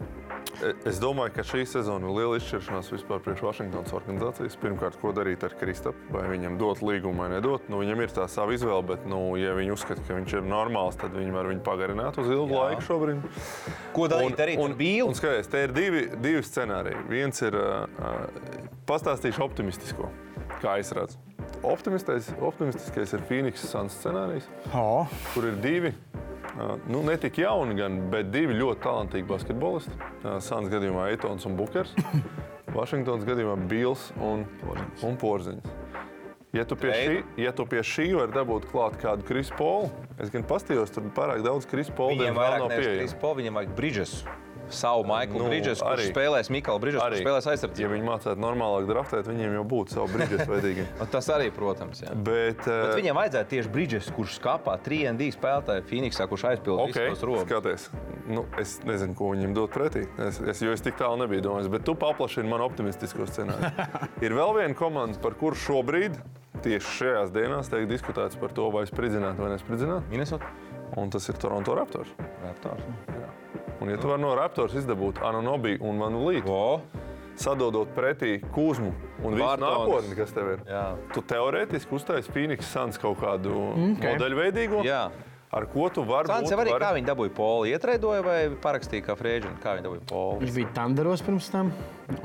S4: es domāju, ka šī sezona ir liela izšķiršanās vispār priekš Vašingtonas organizācijas. Pirmkārt, ko darīt ar Kristapu? Vai viņam dot līgumu vai nedot? Nu, viņam ir tā sava izvēle, bet, nu, ja viņi uzskata, ka viņš ir normāls, tad viņi var viņu pagarināt uz ilgu
S3: Jā.
S4: laiku šobrīd.
S3: Ko darīt? Darīt
S4: un,
S3: ar bīlu?
S4: un skaties, te ir divi, divi scenāriji. Viens ir uh, uh, pastāstīšu optimistisko, kā es redzu. Optimistais- Optimistiskais ir Phoenix Suns scenārijs,
S2: O,
S4: kur ir divi, uh, nu, ne tik jauni, gan, bet divi ļoti talantīgi basketbolisti. Uh, Suns gadījumā Eitons un Bukers, Vašingtons gadījumā Bils un, un Porziņš. Ja tu, pie šī, ja tu pie šī vari dabūt klāt kādu Krispolu, es gan pastījos, tur pārāk daudz Krispolu
S3: Viņam
S4: diemžēl
S3: vairāk
S4: nav
S3: nevis
S4: pieejams.
S3: Krispo, viņam vajag Bridžesu. savu Maiklu
S4: Nu,
S3: nu, Bridžesu, kurš
S4: arī.
S3: spēlēs Mikls Bridžesu, kurš spēlēs aizsardzību.
S4: ja viņi mācītu normālāk draftēt, viņiem jau būtu savi brīdži vajadzīgi.
S3: Nu, Tas arī, protams, jā.
S4: Bet,
S3: Bet
S4: eh,
S3: viņam vajadzēja tieši brīdžes, kurš skāpā 3D spēlētāju Phoenixā, kurš aizpildīja okay.
S4: Okay,
S3: visus rokas.
S4: skaties, nu, es nezinu, ko viņam dot pretī. Es, es, jo es tik tālu nebiju domājis, bet tu paplašini man optimistisko scenāriju. Ir vēl viena komanda, par kuru šobrīd, tieši šajās dienās, tiek diskutēts par to, vai spridzināt vai nespridzināt.
S3: Minnesota
S4: Un tas ir Toronto Raptors.
S3: Raptors.
S2: nu,
S4: Un, ja tu vari no Raptors izdabūt Anonobi un Manu Lītu,
S3: O,
S4: sadodot pretī Kūzmu un visu
S3: Bartons.
S4: nākotni, kas tev ir,
S3: Jā.
S4: tu teorētiski uztaisīsi Phoenix Suns kaut kādu okay. modeļveidīgo,
S3: Mm, Jā.
S4: ar ko tu vari
S3: Sāns jau arī kā viņi dabūja poli, ietraidoja vai parakstīja kā frēģinu, kā viņi dabūja poli.
S2: Viņš bija Thunderos pirms tam.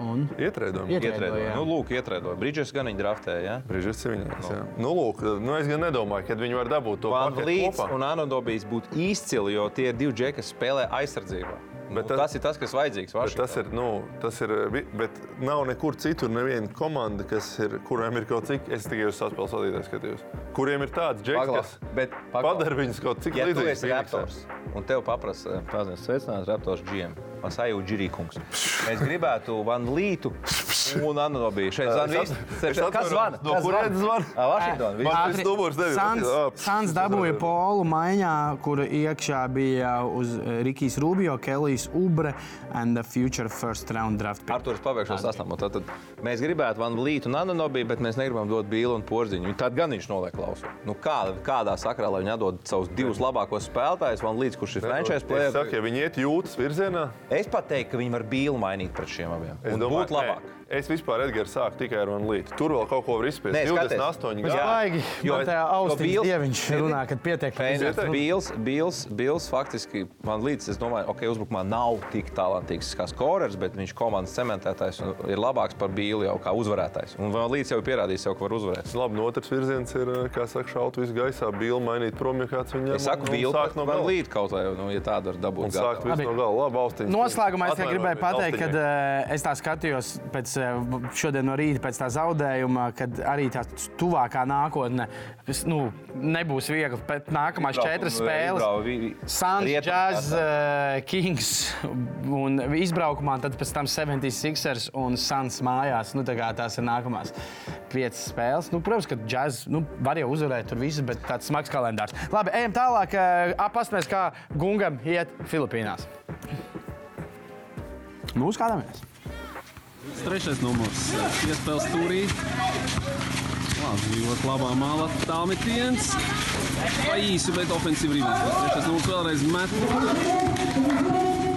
S2: Un...
S4: Ietrēdojumi.
S2: Iet- Ietraidoja,
S3: Ietraidoja.
S2: jā.
S3: Nu, lūk, ietraidoja. Bridžes gan viņi draftēja. Ja?
S4: Brīžas civilizācijā. No. Nu, lūk, nu, es gan nedomāju, kad viņi var dabūt to
S3: Van
S4: paketu
S3: Vlīts
S4: kopā.
S3: un Anodobijs būtu izcili, jo tie ir divi džeki, kas spēlē aizsardzībā. Nu,
S4: Bet tas-
S3: tas, tas ir tas, kas vajadzīgs.
S4: Bet Tas ir, nu, tas ir, vi- bet nav nekur citur, neviena komanda, kas ir, kuriem ir kaut cik, es tikai uz saspēles vadītāju skatījos, kuriem ir tāds džeks, kas
S3: Paglāb, bet paglāb.
S4: padara viņus kaut cik
S3: Ja tu
S4: līdzīgus.
S3: esi
S4: Phoenixam.
S3: raptors un tev paprasa, paziņas, sveicinās raptors GM, Masaju Džirīkungs. Mēs gribētu Van Lītu un Anobiju. Šeit
S4: Es
S3: zvan viss.
S4: atceros- es
S3: Kas
S4: atceros,
S3: zvana?
S4: no
S3: Kas
S4: kurienes zvana?
S3: Ā, Vašingtona.
S4: Man
S3: viss.
S4: viss numurs nebija.
S2: Eh, Sans,
S4: Ah, pš,
S2: Sans dabūja polu maiņā, kur iekšā bija uz eh, Rikijs Rubio, Kelijs Ubre and the future first round draft. pick.
S3: Arktūrs pabeigšos sastāvā. Tad mēs gribētu Van Lītu un Anobiju, bet mēs negribam dot Bīlu un Porziņu. Viņu Tad gan viņš noliek klausu. Nu, kā, kādā sakrā lai viņi atdod savus divus labākos spēlētājus, Van Līts, kurš ir franchise
S4: Es
S3: player.
S4: saku, ja viņi iet jūtas virzienā,
S3: Es pat teiktu, ka viņi var Bīlu mainīt pret šiem abiem.
S4: es
S3: Un
S4: domāju,
S3: būt labāk.
S4: nē, Es vispār, Edgars, sāku tikai ar vienu lītu. Tur vēl kaut ko var izspiest.
S3: Nē, skaties. Jā.
S4: 28 gadi.
S2: Baigi, jo
S3: Jo-
S2: tā
S3: jo
S2: ausīs
S3: Bils-
S2: dieviņš runā, kad pietiek.
S3: Pēdējais
S4: Ziedoņ?
S3: Bils, Bils, Bils faktiski man līdzi, es domāju, ok, uzbrukumā nav tik talantīgs kā skorers, bet viņš komandas cementētājs un ir labāks par Bīlu jau kā uzvarētājs. Un vēl līdzi jau ir pierādījis, sev, ka var uzvarēt.
S4: Labi, no otras virziens ir, kā saka, šaut visu gaisā, bija mainīt prom, ja kāds viņam
S3: Es saku, Bils,
S4: sāk no gala.
S3: līdzi kaut vai, nu, ja tāda var
S4: Un
S3: dabūt.
S4: sākt visu
S2: Labi.
S4: no gala. Labi, austiņas.
S2: Noslēgumā es tikai
S4: Atvainojiet,
S2: gribēju pateikt,
S4: austiņai.
S2: ka es tā skatījos pēc, eh, šodien no rīta pēc tā zaudējuma, kad arī tā tuvākā nākotne kas, nu, nebūs viegli. Pēc nākamās četras spēles. Suns, Jazz, eh, Kings un izbraukumā, tad pēc tam 76ers un Suns mājās. Nu, tā kā tās ir nākamās piecas spēles. Nu, protams, ka Jazz nu, var jau uzvarēt tur visu, bet tāds smags kalendārs. Labi, ejam tālāk. Apstāsimies, kā Gungam iet Filipīnās. Nu, skatāmies.
S5: Trešais numurs - piespēles stūrī. Labi, ļoti labā māla tālmetiens. Pa īsu, bet ofensīvi rīvās. Trešais numurs vēlreiz met.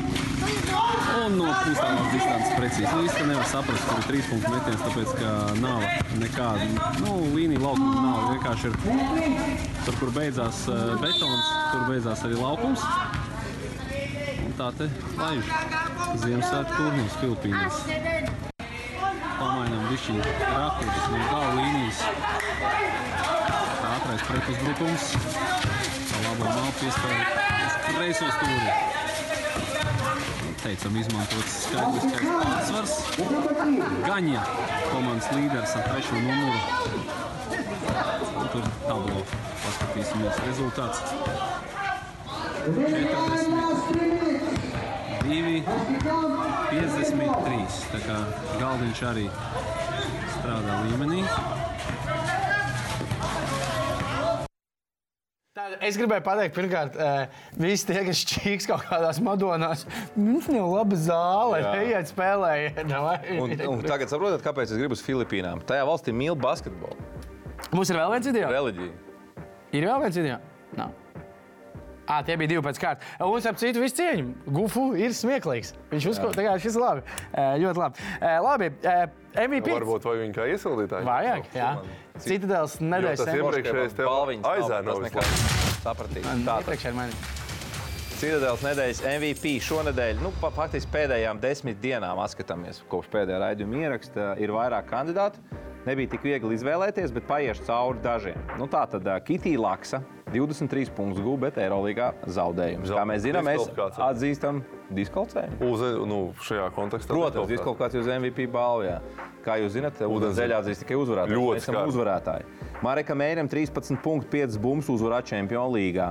S5: Un no pusstāvās distances precīzi. Nu, īsti nevar saprast, kur ir trīs punktu metiens, tāpēc, ka nav nekāda, nu, līnija laukuma nav. Vienkārši ir tur, kur beidzās eh, betons, tur beidzās arī laukums. Un tā te laiž Ziemassvētku turnīrs Filipīnās. Pamainām višķi rakursus no gala līnijas. Ātrais pretuzbrukums. Tā labā māla piespēja kreiso stūri. Teicam, izmantots skaidrs, ka pārsvars. Gaņa, komandas līderis ar trešo numuru. Un tur tablo. Paskatīsimies rezultāts. 40, 2, 53. Tā kā galdiņš arī strādā līmenī.
S2: Tā, Es gribēju pateikt, pirmkārt, eh, visi tie, kas čīks kaut kādās madonās, mums jau laba zāle, ejiet spēlējiet. davai."
S3: Un, un tagad saprotat, kāpēc es gribu uz Filipīnām. Tajā valstī mīl basketbolu,
S2: Mums ir vēl viens video.
S3: reliģiju.
S2: Ir vēl viens video? Nav. À, tie bija divi pēc kārtas. Un, ap citu, visu cieņu. Gufu ir smieklīgs. Viņš uzskata, ka šis ir labi. Eh, Ļoti labi. Eh, Labi, eh, MVP.
S4: Varbūt vai viņi kā iesildītāji.
S2: Vajag, jā. Citadels nedēļas
S4: Jo tas
S2: sēmos.
S4: iepr- Iepriekšējais tev
S3: Balviņas nav,
S4: aizēna
S3: tas
S4: visu
S3: nekā. Sapratīsim. Tā, tā.
S2: Iepriekš ar mani.
S3: Citadēļas nedēļas MVP šonadēļ, nu, pa- faktiski pēdējām desmit dienām skatāmies, kopš pēdējā raidījuma ieraksta, ir vairāk kandidātu. Nebija tik viegli izvēlēties, bet paiešu cauri dažiem. Nu, tā tad uh, Kitija Laksa 23 punktus gūta, bet Eirolandā zaudējums. Kā mēs zinām, mēs
S4: Diskvalifikācija.
S3: atzīstam diskvalcējumu.
S4: Uz, nu, šajā kontekstā.
S3: Protams,
S4: diskvalifikācija.
S3: diskalkācija uz MVP balvu. Jā. Kā jūs zināt, Uzdzeļā atzīs tikai uzvarētāju.
S4: Ļoti
S3: Mēs esam
S4: skarbi.
S3: uzvarētāji. Mareka Mērim 13,5 bumbas uzvarā Čempionu līgā.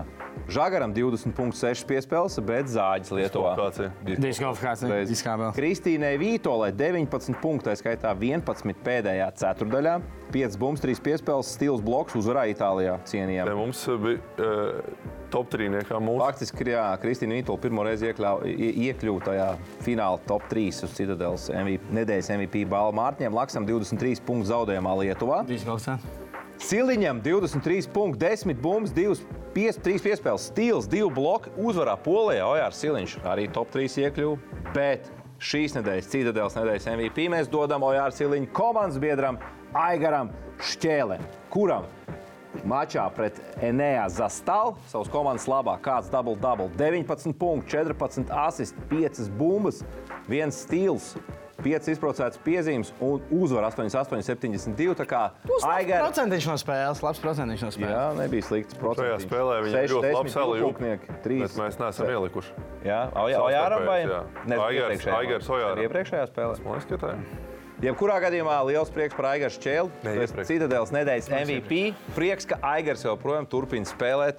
S3: Žagaram 20,6 piespēles, bet zāģis Lietuvā.
S4: Diskvalifikācija.
S3: Diskvalifikācija.
S2: Diskvalifikācija.
S3: Bez.
S2: Diskābel.
S3: Kristīnai Vītolai 19 punktu, tā skaitā 11 pēdējā ceturdaļā, 5 bumbas, 3 piespēles, stils bloks uzvarā Itālijā
S4: Ne,
S3: cienījām.
S4: Mums bija uh, top trīniekā mūsu.
S3: Faktiski, jā, Kristīna Vītola pirmo reizi iekļuva tajā fināla top 3 uz Citadelas MVP, nedēļas MVP balvu Mārtiņam Laksam 23 punktu zaudējumā Lietuvā.
S2: Diskābel.
S3: Siliņam 23 punkti, 10 bumbas, 2 pies, trīs piespēles, stils, 2 bloki. Uzvarā Polijā Ojārs Siliņš arī top 3 iekļuva. Bet šīs nedēļas Citadēlas nedēļas MVP mēs dodam Ojāra Siliņa komandas biedram Aigaram Šķēlēm, kuram mačā pret Enēā Zastalu savas komandas labā kāds dubultdabul 19 punkti, 14 asists, 5 bumbas, 1 stils. 5 izpratnes piezīmes un uzvar 88, 72. Tā kā Aigara
S2: Procentiņš no spēles, labs procentiņš no spēles.
S3: Jā, nebija slikts.
S4: Nu, Šajā
S3: Procents.
S4: spēlē viņi ir ļoti labi salīdzinājuši.
S3: Trīs.
S4: Bet mēs neesam ielikuši.
S3: Jā, Ojāram vai?
S4: jā.
S3: Nezinu,
S4: Aigars-
S3: iepriekšējā.
S4: Aigars Ojāram.
S3: Arī Iepriekšējā spēlē.
S4: Man liekas, ka tā ir.
S3: Jebkurā gadījumā liels prieks par Aigaru Čēlu.
S4: Ne,
S3: Tu esi
S4: iepriekš.
S3: Citadēlas nedēļas MVP. Prieks, ka Aigars joprojām turpina spēlēt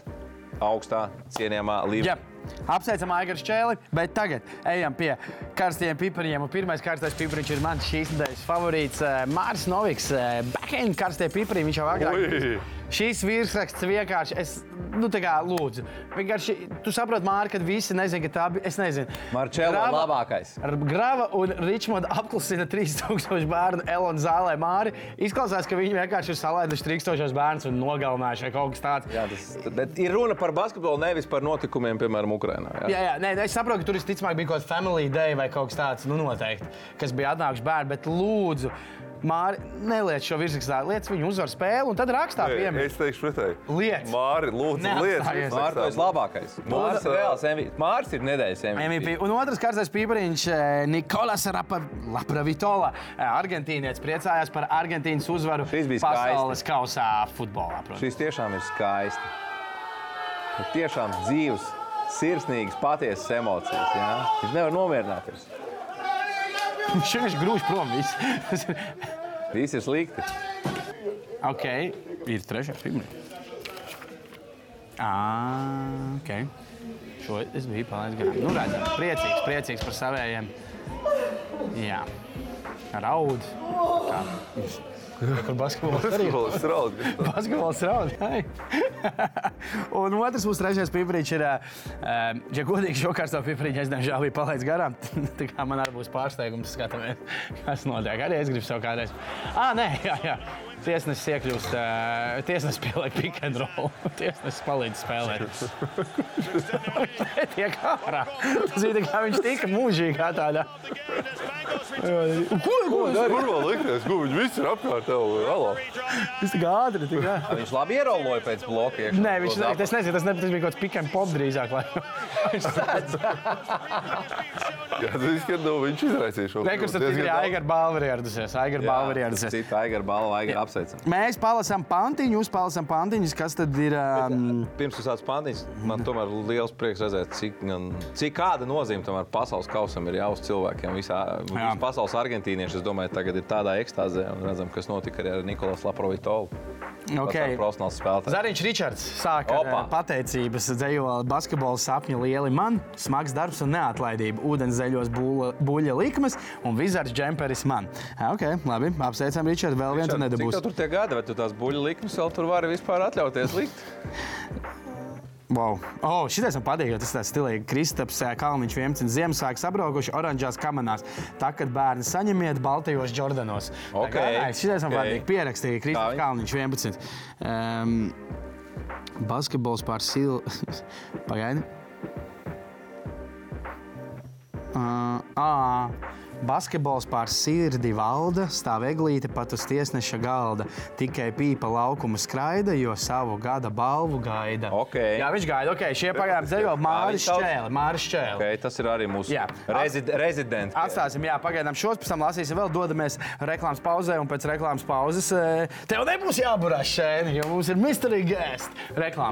S3: augstā cienījamā līmenī.
S2: Jā. Apsveicam Aigars Čēli, bet tagad ejam pie karstiem pipariem. Un Pirmais karstais pipariņš ir mans šīs nedēļas favorīts eh, Mārs Noviks. eh, Backhand karstie pipari, viņš jau agrāk.
S4: Ui!
S2: Šīs virsraksts vienkārši, es, nu, tā kā lūdzu. Vienkārši, tu saproti, Mārka, kad visi nezina, ka tā bija. Es nezinu.
S3: Marčēlo
S2: Grava-
S3: labākais.
S2: Ar Grava un Ričmonda apklusina 3000 bērnu Elonas zālē. Māri izklausās, ka viņi vienkārši ir salaiduši 3000 bērnus un nogalinājuši vai kaut kas tāds.
S3: Jā, tas, bet ir runa par basketbolu, nevis par notikumiem, piemēram, Ukrajinā.
S2: Jā, jā, nē, es saprotu, ka tur visticamāk bija kaut kāda family day vai kaut kas tāds, nu, noteikti, kas bija atnākuši bērni. Bet, lūdzu, Māri, neliec šo virsrakstā, liec viņu uzvar spēli un tad rakstā
S4: Nē,
S2: piemēra.
S4: Es teikšu pretēji.
S2: Liec.
S4: Māri, lūdzu,
S2: Neatstājies.
S4: lietas.
S3: Mārcis ir labākais. Mārcis ir reāls MVP. Mārcis ir nedēļas MVP.
S2: MVP. Un otrs karstais pīpariņš, eh, Nikolais Rapavitola. Eh, Argentīnietis priecājās par Argentīnas uzvaru
S3: Šis bija
S2: pasaules kausā futbolā. protams.
S3: Šis tiešām ir skaisti. Bet tiešām dzīves, sirsnīgas, patiesas emocijas. Jā? Viņš nevar nomierināties.
S2: Viņš vienkārši grūž prom visu.
S3: Viss ir slikti.
S2: ok, ir trešais pīpariņš. Ah, ok. Šo es biju palaidis garām. Nu, redzam, priecīgs, priecīgs par savējiem. Jā. Raud. Kā? Kur basketbols arī ir?
S4: Futbols ir algas.
S2: Basketbols raudāja. Un otrs mūsu trešais pīprīčs ir, eh, ja godīgi, šo kārtu pīprīču es diemžēl biju palaidis garām. Tā kā man arī būs pārsteigums, skatāmies, kas notiek. Arī es gribu sev kādreiz. Ah, nē, jā, jā. Tiesnesis iekļūst, eh, tiesnesis pieliek pick and roll. Tiesnesis palīdz spēlēt. Tiek ārā. Tas bija tā kā viņš tika mūžīgā tādā. Ko, ko?
S4: Kur vēl likties? Ko viņi visi ir apkārt tev? Alā.
S2: Tas tā kā ātri. tā kā.
S3: Viņš labi ierauloja pēc bloka. iekšā.
S2: Nē, viņš
S3: To
S2: ne,
S3: dab-
S2: tas nezina. Tas, ne, tas bija kaut kāds pikants pop drīzāk. lai- Viņš sēdz.
S4: Jā, tas viss, kad nu, viņš izraisīja šo
S2: Nē, kur tad ir Aigara balva arī ieradusies. Aigara balva arī ieradusies.
S3: Cita Aigara balva, Aigara apsveicam.
S2: Mēs palasām pantiņu, uzpalasām pantiņas, kas tad ir. Um,
S3: Pirms uzsācis Pānijas, man tomēr liels prieks redzēt, cik, gan- cik kāda nozīme tomēr pasaules kausam ir jāuz cilvēkiem. Visā
S2: Jā.
S3: visā pasaules argentīnieši, es domāju, tagad ir tādā ekstāzē un redzam, kas notika arī ar Nikolasu Laprovitolu.
S2: okay.
S3: Profesionāls spēlētājs.
S2: Zariņš Ričards sāka ar
S3: Opa.
S2: eh, pateicības dzējoli basketbola sapņu lieli man, smags darbs un neatlaidība, ūdens zeļos būla- buļļa likmes un vizards džemperis man. Eh, Ok, labi, apsveicam Ričardu, vēl viens
S3: Čau, Cik
S2: nedabūs.
S3: tev tur tie gadi, vai tu tās buļļu likmes vēl tur vari vispār atļauties likt?
S2: Wow. Oh, šis man patīk, jo tas tāds stilīgi. Kristaps, eh, Kalniņš, 11. Ziemassvētku sabraukuši oranžās kamanās. Tā, kad bērni saņemiet baltajos jordanos.
S3: Ok,
S2: Šis man
S3: ok.
S2: patīk. Pierakstīja Kristaps
S3: Tā.
S2: Kalniņš, 11. Um, basketbols pār silu. Pagaidi. Uh, ā, basketbols pār sirdi valda, stāv eglīte pat uz tiesneša galda. Tikai pīpa laukuma skraida, jo savu gada balvu gaida.
S3: Ok.
S2: Jā, viņš gaida, ok, šie pagājām ceļo
S3: viņš
S2: Māris
S3: sauc?
S2: Čēle. Māris Čēle.
S3: Okay, tas ir arī mūsu
S2: Jā.
S3: rezid, rezidents.
S2: Atstāsim, jā, pagaidām šos, pēc tam lasīsim, vēl dodamies reklāmas pauzē, un pēc reklāmas pauzes eh, tev nebūs jāburās šeit, jo mums ir Mystery Guest reklāma.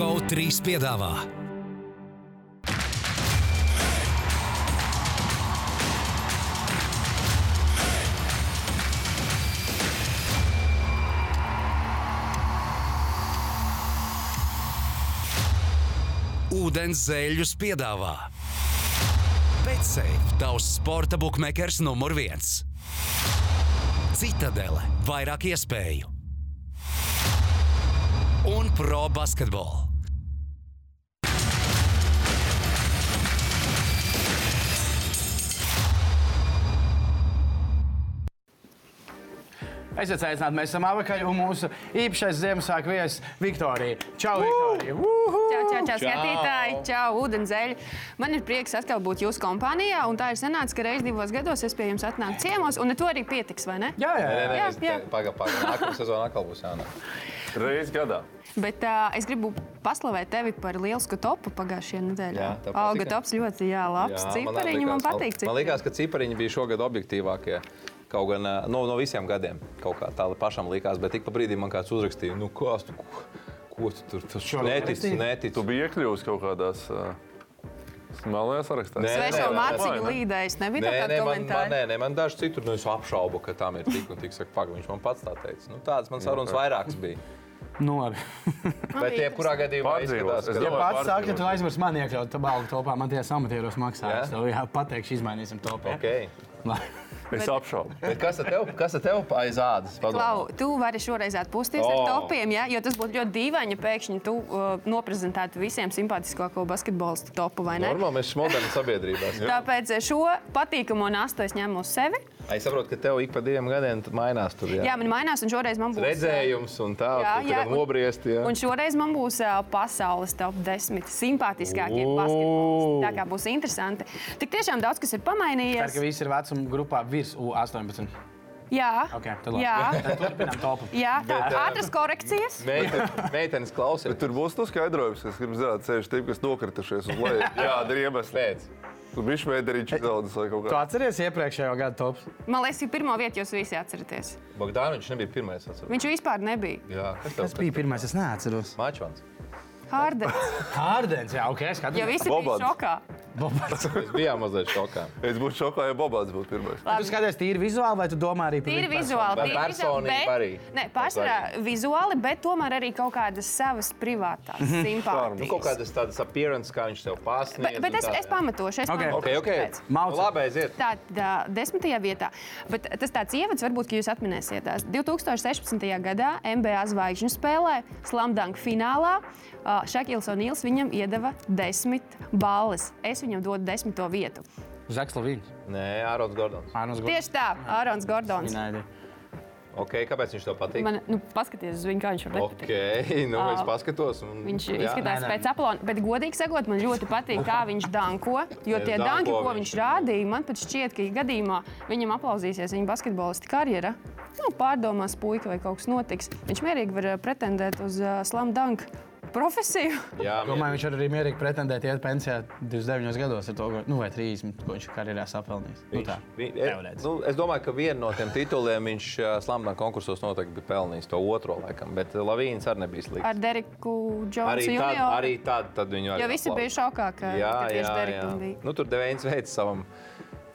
S1: GO3 piedāvā ūdens zēļus piedāvā. Betsafe tavs sporta buklets numur viens. Citadele - vairāk iespēju un pro basketbolu.
S2: Es aicinātu, mēs esam apakaļ un mūsu īpašais Ziemassvētku viesis Viktorija. Čau, Viktorija! Uhu!
S6: Čau, čau, čau, skatītāji, čau, ūdenzēļi. Man ir prieks atkal būt jūsu kompānijā, un tā ir sanāca, ka reiz divos gados es pie jums atnāku ciemos, un ar to arī pietiks, vai ne?
S2: Jā, jā, jā.
S6: Jā, jā.
S3: Pagaidām, pagaidām. Nākamā sezona atkal būs jānāk.
S4: Reizes gadā.
S6: Bet uh, es gribu paslavēt tevi par lielisku topu pagājušajā nedēļā.
S3: Jā, tev
S6: Auga
S3: patika?
S6: tops ļoti jā, labs, cipariņi man patīk.
S3: Man
S6: cipariņi.
S3: liekas, ka cipariņi bija šogad objektīvākie. Kaut gan eh, no, no visiem gadiem kaut kā tā pašam likās, bet tik pa brīdim man kāds uzrakstīja, nu, ko tu, ko, ko tu tur tas netici,
S4: Tu
S3: netici.
S4: biji iekļuvis kaut kādās uh, melnajās sarakstās.
S3: Nē,
S6: Svešo
S3: nē, nē,
S6: mācību
S4: nē.
S6: līdējis, nebija
S3: Nē,
S6: tāda
S3: nē, man, man,
S6: komentāra.
S3: nē, nē, man daži citur nu, es apšaubu, ka tam ir tik un tik. Saka, pag, viņš man pats tā teica. Nu, tāds man sarunas vairākas bija.
S2: Nu, labi.
S3: Bet, jebkurā gadījumā,
S4: Pārdzīvos,
S3: izskatās,
S4: es
S3: ka-
S4: domāju.
S2: Pats saka, ka tu aizmirsti man iekļaut tā balvu topā. Man tie samatieros maksā.
S3: Jā?
S2: Es tev jā, pateikšu, izmainīsim topu.
S3: Okay.
S4: Es apšaubu.
S3: Bet Kas ar tevi kas ar tevi aiz ādas? Padomā.
S6: Klau, tu vari šoreiz atpūsties oh.
S3: O.
S6: ar topiem, ja? jo tas būtu ļoti dīvaini, ja pēkšņi tu uh, noprezentētu visiem simpātiskāko basketbolistu topu, vai ne?
S3: Normāli mēs esam moderni sabiedrībā.
S6: Tāpēc eh, šo patīkamo nastu es ņēmu uz sevi.
S3: Es saprotu, ka tev ik pa diviem gadiem t- mainās tur.
S6: Jā, man mainās, un šoreiz man būs eh,
S3: redzējums un tā,
S6: Jā,
S3: tu
S6: jā,
S3: tagad
S6: un-
S3: nobriest. jā.
S6: Un šoreiz man būs eh, pasaules top 10 simpātiskākie
S3: Ooh.
S6: basketbolisti. Tā kā būs interesanti. Tik tiešām daudz kas ir
S2: Cerams, ka
S6: pamainījies.
S2: visi ir vecuma grupā virs U18.
S6: Jā,
S2: Okay, tad labi.
S6: jā,
S2: Tad turpinām topu.
S6: jā tā
S3: Bet,
S6: ir
S3: eh,
S6: ātras korekcijas.
S3: Meiten- Meitenes
S4: Bet
S3: klausās.
S4: tur būs tas skaidrojums, es gribu zināt, ceļš tiem, kas nokritušies uz leju. Jā, ir iemesli.
S3: Pēc.
S4: Tur bija šveidriņš daudz vai kaut
S2: Tu
S4: kā.
S2: atceries iepriekšējo gadu topu?
S6: Man liekas, ka pirmo vietu jūs visi atceraties.
S3: Bogdānovičs nebija pirmais. atceros.
S6: Viņš vispār nebija.
S3: Jā, kas tev
S2: Tas bija pirmais, es neatceros.
S3: Mačvans.
S6: Hārdens.
S2: Hārdens, jā, ok,
S6: Jo
S2: skaties.
S6: visi bija
S4: Bobots.
S6: šokā.
S2: Bobats.
S3: Mēs bijām mazliet šokā.
S4: Es būtu šokā, ja Bobāts būtu pirmais.
S2: Tu skaties tīri vizuāli, vai tu domā arī par viņu
S6: Tīri
S2: personu?
S6: vizuāli,
S3: Bet
S6: tīri vizuāli,
S3: personība arī.
S6: Nē, pārsvarā vizuāli, bet tomēr arī kaut kādas savas privātās
S2: Mhm.
S3: Nu, kaut
S6: simpātijas.
S3: kādas tādas appearances, kā viņš tev
S6: Bet,
S3: pasniedz.
S6: bet es, es pamatošu, es
S2: Ok.
S6: pamatošu.
S3: Ok, ok.
S6: pēc.
S2: Maucam.
S3: Nu, Labi, aiziet.
S6: Tā ir desmitajā vietā. Bet tas tāds ievads, varbūt, ka jūs atminēsiet. 2016. gadā MBA zvaigžņu spēlē Slamdunk finālā ā, Šakils O'Neils viņam iedeva desmit balles. Es viņam dodu desmito vietu.
S2: Zaks nu, Lavīns.
S3: Nē, Ārons Gordons.
S2: Ārnus Gordons.
S6: Tieši tā, Ārons Gordons.
S2: Minēja.
S3: Ok, kāpēc viņš tev patīk?
S6: Man, nu, paskaties uz viņu, kā viņš ir.
S3: Ok, nu es paskatos. Un...
S6: Ah. Viņš
S3: jā.
S6: izskatās
S2: Nē, nē.
S6: pēc aplona, bet godīgi sakot, man ļoti patīk, kā viņš danko. Jo
S3: Es
S6: tie
S3: danko
S6: danki, ko viņš
S3: viņš-
S6: rādīja, man pat šķiet, ka gadījumā viņam aplausīsies viņa basketbolista karjera. Nu, pārdomās, puika, vai kaut kas notiks. Viņš mierīgi var eh, pretendēt uz uh, slamu danku profesiju.
S3: Jā,
S2: Domāju, viņš var arī mierīgi pretendēt iet pensijā 29 gados, ar to, ko- nu, vai 30, ko viņš karjerā sapelnījis. Nu, tā.
S3: Viņš- vi-
S2: Teorētiski.
S3: nu, es domāju, ka vienu no tiem tituliem viņš slāmdā konkursos noteikti bija pelnījis to otro, laikam, bet eh, Lavīns arī nebija slikts.
S6: Ar Deriku Džonsu
S3: Arī tad,
S6: junioru.
S3: arī tad, tad viņu arī
S6: Jo visi
S3: aplauda.
S6: bija šokā, ka
S3: Jā,
S6: ka
S3: jā,
S6: tieši
S3: jā.
S6: Derikam bija.
S3: Nu, tur Devēns veids savam.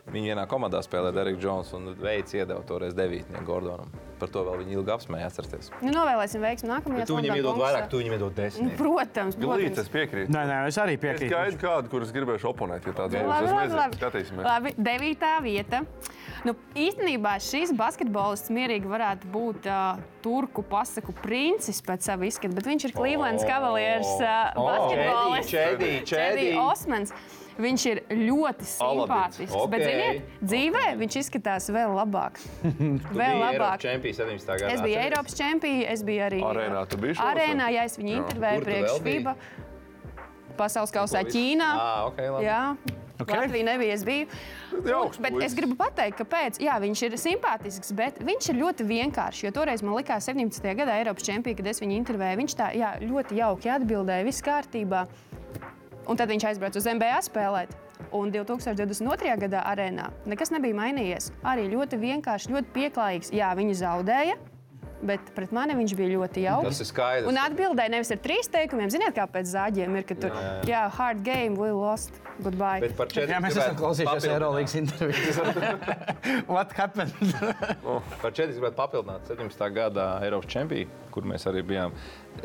S3: Viņa vienā komandā spēlēja Derek Jones un veids iedeva toreiz devītnieku Gordonam. Par to vēl viņi ilgi apsmēja, atcerieties.
S6: Nu, novēlēsim veiksmi nākamajā
S3: Bet tu viņam
S6: slamdunk
S3: iedod
S6: konkursā.
S3: vairāk, tu viņam iedod
S6: Nu,
S3: desmit.
S6: Protams,
S4: Līdz
S6: protams.
S4: es piekrītu.
S2: Nē, nē, es arī
S4: Es
S2: piekrītu.
S4: gaidu kādu, kurus gribēšu oponēt, ja tāds būs.
S6: Labi,
S4: Es
S6: labi,
S4: nezinu,
S6: labi.
S4: skatīsimies.
S6: Labi, devītā vieta. Nu, īstenībā šis basketbolists mierīgi varētu būt uh, turku pasaku princis pēc sava izskata, bet viņš ir Clevelands Cavaliers uh,
S3: Oh,
S6: basketbolists.
S3: Čedī, čedī,
S6: Čedī Osmans. Viņš ir ļoti
S3: Alabins.
S6: simpātisks. Okay. Bet,
S3: Ok.
S6: ziniet, dzīvē okay. viņš izskatās vēl labāk. vēl labāk.
S3: Čempions 17. gadā.
S6: Es biju
S3: atceries?
S6: Eiropas čempions, es biju arī
S4: Arēnā tu biji šovasar?
S6: Arēnā, jā, es viņu intervēju
S3: Kur tu vēl
S6: priekš
S3: biji?
S6: FIBA pasaules kausā
S3: Ko viss?
S6: Ķīnā.
S3: Ā, Ah, ok, labi.
S6: Jā, okay. Latvija nebija. Es biju.
S4: jauks
S6: bet
S4: puisis.
S6: es gribu pateikt, ka pēc, jā, viņš ir simpātisks, bet viņš ir ļoti vienkāršs. Jo toreiz man likās, 17. gadā Eiropas čempionā, kad es viņu intervēju, viņš tā jā, ļoti jauki atbildēja, viss kārtībā. Un tad viņš aizbrauca uz MBA spēlēt. Un 2022. gadā arēnā nekas nebija mainījies. Arī ļoti vienkārši, ļoti pieklājīgs. Jā, viņi zaudēja. Bet pret mani viņš bija ļoti jauks.
S3: Tas ir skaidrs.
S6: Un atbildēja nevis ar trīs teikumiem. Ziniet, kā pēc zāģiem ir, ka tur, jā, jā. jā hard game, we lost, goodbye.
S3: Bet par četriem
S2: Jā, mēs esam klausījušies Eirolandes intervijas. What happened?
S3: Par četriem gribētu papildināt 17. gada Eiropas čempionu, kur mēs arī bijām.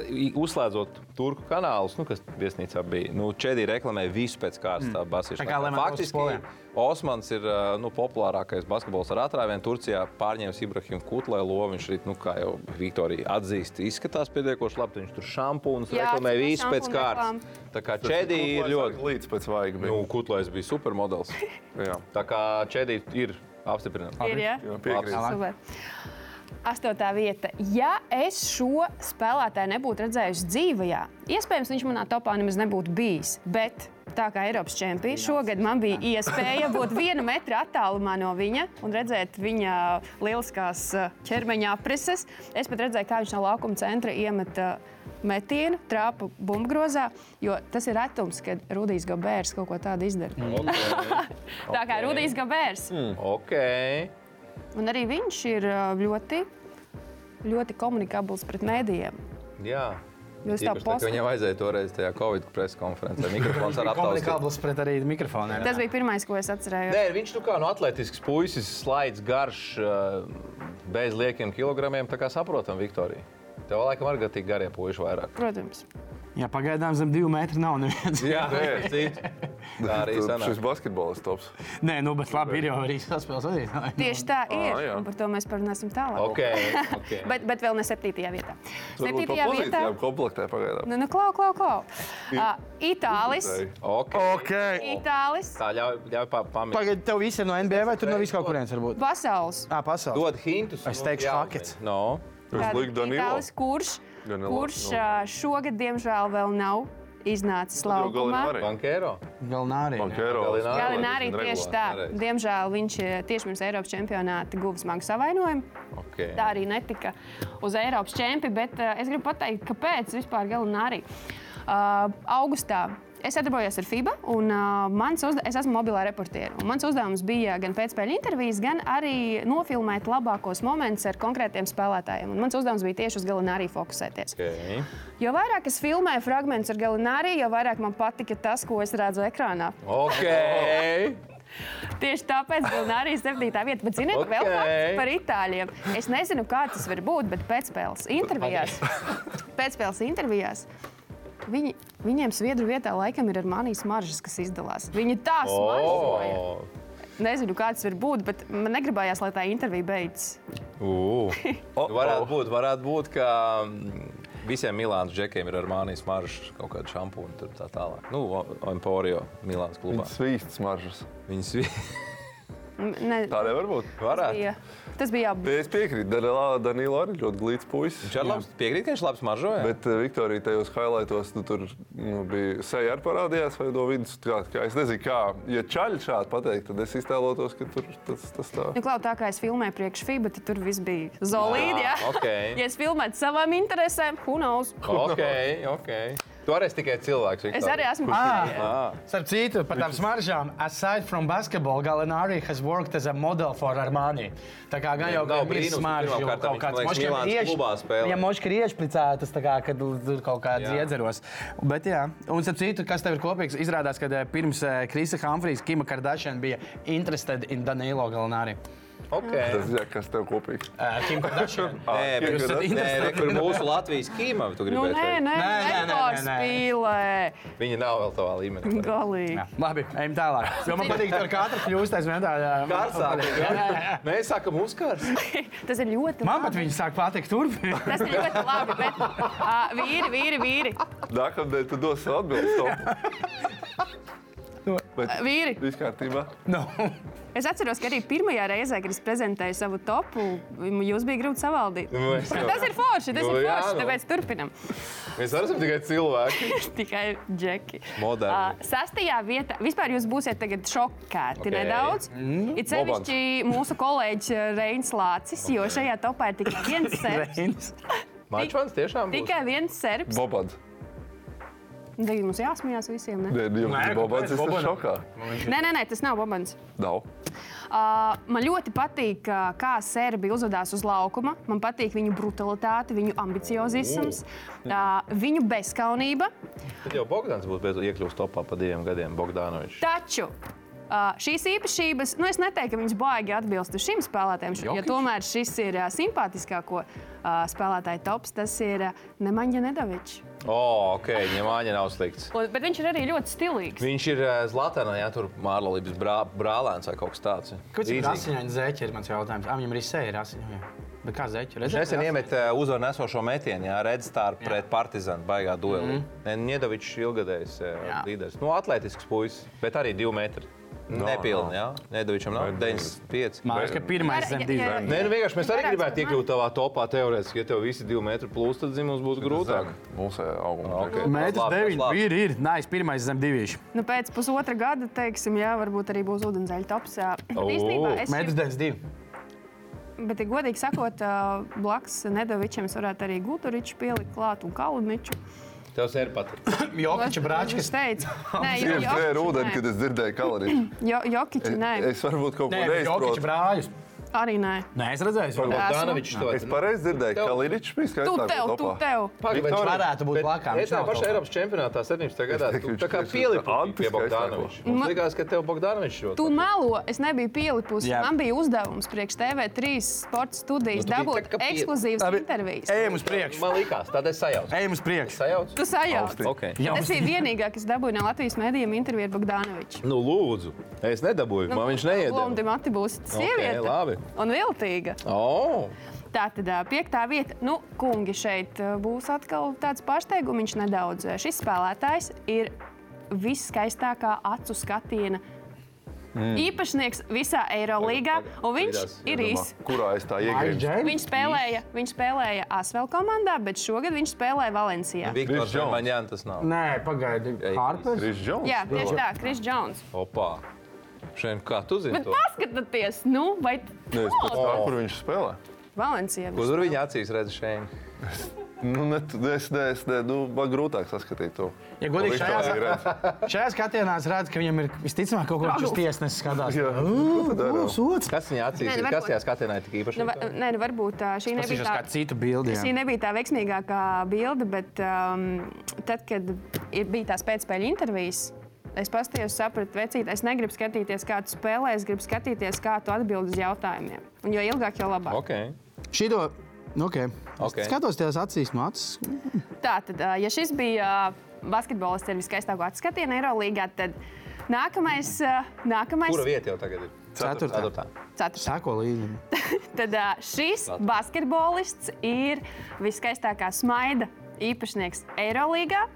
S3: I- Uzslēdzot turku kanālus, nu, kas viesnīcā bija, nu, Čēdija reklamē visu pēc kārtas. Tā
S2: Mm. Tā
S3: basīšana.
S2: kā Lewandowski
S3: faktiski
S2: Polijā.
S3: Osmans ir ā, nu, populārākais basketbols ar atrāvienu. Turcijā pārņēmis Ibrahim Kutlē lomu. Viņš arī, nu, kā jau Viktorija atzīst, izskatās pietiekoši labi. Viņš tur šampūnus
S6: Jā,
S3: reklamē
S6: tur
S3: visu pēc
S6: šampūnu
S3: kārtas. Tā kā Čēdija ir ļoti.
S4: līdz pēc vaigas.
S3: Nu, Kutlais bija supermodelis.
S4: Jā.
S3: Tā kā Čēdija ir apstiprināta.
S6: Ir, ja?
S4: Jā, piekrītu.
S2: Labāk.
S6: Super. Astotā vieta. Ja es šo spēlētāju nebūtu redzējusi dzīvajā, iespējams, viņš manā topā nemaz nebūtu bijis. Bet tā kā Eiropas čempions šogad man bija iespēja būt viena metra attālumā no viņa un redzēt viņa lieliskās eh, ķermeņa aprises. Es pat redzēju, kā viņš no laukuma centra iemeta metienu, trāpa bumbuļgrozā, jo tas ir retums, kad Rudijs Gabērs kaut ko tādu izdara.
S3: Mm,
S6: Tā kā Rudijs Gabērs.
S3: Ok.
S6: Un arī viņš ir ā, ļoti, ļoti komunikabls pret mēdījiem.
S3: Jā.
S6: Jūs tā
S3: Īpaši tad, kad
S6: posmā.
S3: Viņam vajadzēja toreiz tajā Covid preskonferencē. Mikrofons ar aptaujas.
S2: Komunikābls pret arī mikrofoniem.
S6: Tas bija pirmais, ko es atcerējos.
S3: Nē, viņš nu kā no atletisks puisis, slaids garš, uh, bez liekiem kilogramiem. Tā kā saprotam, Viktorija. Tev laikam arī gatīgi garie puiši vairāk.
S6: Protams.
S2: Jā, pagaidām zem divu metru nav neviens.
S3: Jā, citu. Tā arī
S4: Tad
S3: sanāk.
S4: Šis basketbols tops.
S2: Nē, nu, bet labi, ir jau arī saspēles vadītājs.
S6: Tieši tā ir.
S4: Ā, jā.
S6: un Par to mēs parunāsim tālāk.
S3: Ok. okay.
S6: Bet, bet vēl ne septītajā vietā.
S4: Varbūt pa pozīcijām komplektē pagaidām.
S6: Nu, nu, klau, klau, klau. Uh, Itālis.
S3: okay.
S6: Itālis.
S3: Tā ļauj, ļauj pa, pamest.
S2: Pagaidām, tev viss ir no NBA vai tur no vispār kurienes var būt?
S6: Pasaules.
S2: Jā, pasaules.
S3: Dod hintus.
S2: Es
S3: un
S2: teikšu
S3: jāuzmēģina.
S2: fakets.
S3: No.
S4: Es
S6: Tātad
S4: lieku Danilo.
S6: Itālis, kurš,
S4: Danilo,
S6: kurš
S4: nu.
S6: ā, šogad, diemžēl, vēl nav iznācis laukumā.
S3: Bankēro.
S2: Galnārī.
S4: Bankēro.
S3: Gallinari.
S6: Galinārī
S4: Regulāri.
S6: tieši tā.
S3: nereiz.
S6: Diemžēl viņš eh, tieši pirms Eiropas čempionāta guva smagu savainojumu.
S3: Okay.
S6: Tā arī netika uz Eiropas čempi, bet eh, es gribu pateikt, kāpēc vispār Galinārī. Uh, augustā es atdarbojos ar FIBA, un uh, mans uzde- es esmu mobilā reportiera. Un Mans uzdevums bija gan pēcspēļu intervijas, gan arī nofilmēt labākos momentus ar konkrētiem spēlētājiem. Un mans uzdevums bija tieši uz Galinārī fokusēties.
S3: Okay.
S6: Jo vairāk es filmēju fragmentus ar Galinārī, jo vairāk man patika tas, ko es redzu ekrānā.
S3: Okay.
S6: Tieši tāpēc bija arī 7. vieta. Bet, ziniet, okay. vēl
S3: Okei.
S6: fakts par itāļiem. Es nezinu, kā tas var būt, bet pēcspēles intervijās, pēcspēles intervijās viņi, viņiem sviedru vietā laikam ir ar manijas maržas, kas izdalās. Viņi tā smaržoja. Oh.
S3: Oh.
S6: Nezinu, kā tas var būt, bet man negribējās, lai tā intervija beidzas.
S3: Uh. Varētu būt, varētu būt, ka mm, visiem Milānas džekiem ir ar mānijas maržu kaut kāda šampūna tur tā tālāk. Nu, O- Emporio Milānas klubā.
S4: Viņas svīst smaržas.
S3: Viņas vi-
S6: M- Ne,
S4: Tā nevar būt.
S3: varētu.
S6: bija, tas bija jābūt.
S4: Es piekrītu. Danilā- Danilo arī ļoti glīts puisis.
S3: Viņš ir labs, piekrīt, ka viņš labs maržoja.
S4: Bet eh, Viktorija tajos highlightos nu, tur nu, bija seja arī parādījās, vai no vidus. Kā, kā, es nezinu, kā. Ja čaļi šādi pateikt, tad es iztēlotos, ka tur tas, tas tā.
S6: Nu, Klau, tā kā es filmēju priekš FIBA, tad tur viss bija zolīdi. Jā,
S3: okei.
S6: Ja es filmēju savām interesēm, who knows?
S3: Ok, ok. Tu arī esi tikai cilvēks.
S6: Es arī esmu
S2: Ah,
S3: Ah,
S2: starp citu, par tām smaržām, aside from basketball, Galinārī has worked as a model for Armani. Tā kā gan jau
S3: nav
S2: gan ir
S3: brīnums, ka
S2: smaržas,
S3: pirmām
S2: jo
S3: kārtām
S2: kaut
S3: viņš,
S2: kāds
S3: man liekas, Milāns klubā spēlē.
S2: Ja moški ir iešpricētas, tā kā, kad tur kaut kāds
S3: Jā.
S2: iedzeros. Bet jā, un starp citu, kas tev ir kopīgs, izrādās, ka eh, pirms eh, Krisa Humphreys, Kima Kardashian bija interested in Danilo Galinārī.
S3: ok.
S4: Tas ir kas tev kopīgs.
S2: Kim Kardashian.
S3: Nē, bet
S4: Jūs
S3: tur
S4: esat
S3: ir mūsu Latvijas kīma. tu
S6: Nu,
S3: gribēji
S6: nē, nu-
S3: teikt?
S6: nē,
S2: Nē, nē, nē, nē, nē.
S6: nepārspīlē.
S3: Viņa nav vēl tavā līmenī.
S6: Galīgi.
S2: Jā, Labi, ejam tālāk. Jo man patīk, ka katra kļūst aizvien
S3: Kārsāk.
S2: tādā. eh,
S3: Mēs sākam uzkars.
S6: Tas ir ļoti
S2: Man pat
S6: labi.
S2: viņa sāk patikt turpināt.
S6: Tas ir ļoti labi. Bet, uh, vīri, vīri, vīri.
S4: Nākamdien tu dosi atbildi.
S6: Ā, vīri.
S4: Viss kārtībā.
S6: Es atceros, ka arī pirmajā reizē, kad es prezentēju savu topu, jūs bija grūti savaldīt.
S3: Nu, es jau-
S6: Tas ir forši, tas
S3: Nu,
S6: ir
S3: jā,
S6: forši.
S3: nu.
S6: Tāpēc turpinam.
S3: Mēs arī esam tikai cilvēki.
S6: Tikai džeki.
S3: Moderni.
S6: Ā, Sastajā vietā vispār jūs būsiet tagad šokēti
S3: Ok.
S6: okay. nedaudz. Mm. Ir sevišķi mūsu kolēģis ā, Reinis Lācis, jo šajā topā ir tikai viens serbs.
S3: Mačvans tiešām būs.
S6: Tikai viens serbs.
S4: Bobans.
S6: Tagad mums jāsmējās visiem. Ne?
S4: Nē, divi.
S2: Nē, kāpēc
S4: Bobans ir
S2: Bobanam?
S4: šokā.
S6: Nē, nē, nē, tas nav Bobans.
S4: Nav.
S6: Uh, man ļoti patīk, uh, kā serbi uzvedās uz laukuma. Man patīk viņu brutalitāte, viņu ambiciozisms, uh, viņu bezskaunība.
S3: Tad jau Bogdans būs bez iekļūst topā pa diviem gadiem. Bogdanovičs.
S6: Taču uh, Uh, šīs īpašības, nu, es neteiktu, ka viņas baigi atbilst šim spēlētājam. Šo- Jo
S3: Jokič?
S6: tomēr šis ir uh, simpātiskāko uh, spēlētāju tops, tas ir uh, Nemanja Nedavičs.
S3: O, ok, ņemāņa nav slikts.
S6: Un- Bet viņš ir arī ļoti stilīgs.
S3: Viņš ir eh, Zlatanā, ja tur Mārlības brā, brālēns vai kaut kas tāds.
S2: Kāds ir
S3: Līdzīgi.
S2: rasiņains zēķis, ir mans jautājums. Am, viņam arī sēja rasiņa. Bet kā zēķis?
S3: Viņš nesen iemet eh, uzvaru nesošo metienu, jā, redzstāru pret Partizanu, baigā duelī. Mm. Niedavičs ilgadējs
S2: Jā.
S3: eh, līderis. Nu, atletisks puisis, bet arī divi metri. No, Nepilni, jā. Niedavičam nav
S4: Vai
S3: 95.
S2: Mākslinieks, ka pirmais
S6: Jā,
S2: zem
S6: jā,
S2: divi.
S6: jā.
S3: Nē, nu vienkārši mēs arī
S6: Varētu
S3: gribētu
S6: būt
S3: iekļūt tavā topā teorētiski. Ja tev visi divi metri plūst, tad zinu, mums būtu grūtāk.
S4: Mūsu auguma
S3: Ok.
S4: okay.
S2: Mēģis
S3: Labi,
S2: deviņi.
S3: labi.
S2: Ir, ir. Nē, es pirmais zem divīši.
S6: Nu, pēc pusotra gada, teiksim, jā, varbūt arī būs ūdenzēļa tops. jā. Bet īstenībā es
S2: Mēģis
S6: gribu-
S2: deviņi divi.
S6: Bet, ja godīgi sakot, ā, blakus Nedovičam es varētu arī Guturiču pielikt klāt un Kalniņu.
S3: Tev ir patīk.
S2: Jokiča brāčkas.
S6: teica, nē, jo-
S4: Es dzēru ūdeni, kad es dzirdēju kaloriju.
S6: Jo, Jokiči, nē,
S4: Es varbūt kaut
S2: Nē,
S4: ko
S2: Jokiča
S4: neizprotu.
S2: brāļus.
S6: arī nē.
S2: Nē, es redzēju. es
S6: Esmu.
S3: Danovičs to
S4: Es pareizi dzirdēju, ka Kalniņš bija
S6: Tu
S4: skaistāks.
S6: tev, tu tev.
S2: Viņš varētu būt blakām, viņš
S3: Es tā
S2: nav
S3: pašā
S2: topā.
S3: Eiropas čempionātā 17. gadā
S4: Es teiktu,
S3: tu
S4: viņš
S3: tā kā
S4: tieši
S3: pielipoji pie
S4: tā antiskais
S3: Bogdanoviča. Man
S6: Ma-
S3: liekas, ka tev Bogdanovičs ļoti.
S6: Tu melo, es nebiju pielipusi.
S2: Jā.
S6: Jā. Man bija uzdevums priekš TV3 sporta
S3: Nu,
S6: studijas
S3: tu biji
S6: dabūt
S3: tā kā pie-
S6: ekskluzīvas
S2: Labi.
S6: intervijas.
S2: Ejam uz priekšu.
S3: Man liekas, tad es sajaucu.
S2: Ejam uz priekšu.
S3: Sajaucu?
S6: Tu sajauc.
S3: Okay.
S2: Jā,
S6: Tas
S2: uz-
S6: bija vienīgā, kas dabūja no Latvijas mēdījiem interviju ar Bogdanoviču.
S3: Nu, lūdzu, es nedabūju. Man viņš neiedod.
S6: Lomdi Mati būs
S3: Ok,
S6: Nu, sieviete.
S3: labi.
S6: Un viltīga.
S3: Oh,
S6: Tātad ā, piektā vieta. Nu, kungi, šeit ā, būs atkal tāds pārsteigums nedaudz. Šis spēlētājs ir viskaistākā acu skatiena mm. īpašnieks visā Eirolandā.
S3: Pagaid, pagaid,
S6: Un viņš
S3: pagaidās,
S6: ir īs.
S4: Kurā es tā iegribu?
S6: Viņš spēlēja, viņš spēlēja ASV komandā, bet šogad viņš spēlēja Valencijā.
S3: Viktors
S4: Chris Jones.
S3: Maņēns tas nav.
S2: Nē, pagaidi.
S3: Ej,
S2: Harpers.
S4: Kris Džons.
S6: Jā, tieši tā, Kris Džons.
S3: Opa. Šodien kā tu zini
S6: Bet
S3: to?
S6: paskatieties, nu, vai
S4: Nē, es pat saku, kur viņš spēlē.
S6: Valencijā.
S3: Kur tur viņa acīs redz šeit?
S4: Nu, ne, tu- es, ne, es, ne, nu, man grūtāk saskatīt to.
S2: Ja godīgi,
S4: Viņš to
S2: šajā-
S3: eh?
S4: negrib.
S2: Šajā skatienā es redzu, ka viņam ir visticamāk kaut kas tāds tiesnesis skatās.
S4: Jā.
S2: Ū,
S4: Ko tad
S2: ū,
S4: dara?
S2: sots.
S3: Kas viņa acīs
S6: Nē,
S3: ir?
S6: varbūt-
S3: Kas tajā skatienā ir tik
S6: Nu,
S3: īpaši?
S6: va- nē, nu, varbūt tā
S2: Tas
S6: šī
S2: ir
S6: nebija
S2: uz
S6: tā.
S2: kādu citu bildi.
S6: Šī
S2: jā.
S6: nebija tā veiksmīgākā bilde, bet um, tad, kad ir, bija tās pēcspēļu intervijas, es paskatījos, sapratu, vecīt, es negribu skatīties, kā tu spēlē, es gribu skatīties, kā tu atbild uz jautājumiem. Un jo ilgāk, jo labāk.
S3: Ok.
S2: Šito. Okay.
S3: Ok.
S2: Okay. Skatos tajās acīs, no acis.
S6: Tātad, ā, uh, ja šis bija uh, ā, basketbolists ar viskaistāko atskatienu Eirolandā, tad nākamais, ā, nākamais
S3: Kura vieta jau tagad ir?
S2: Ceturtā.
S3: Ceturtā.
S6: ceturtais.
S2: Sako līdzi.
S6: Tad ā, šis basketbolists ir viskaistākā smaida īpašnieks Eirolandā.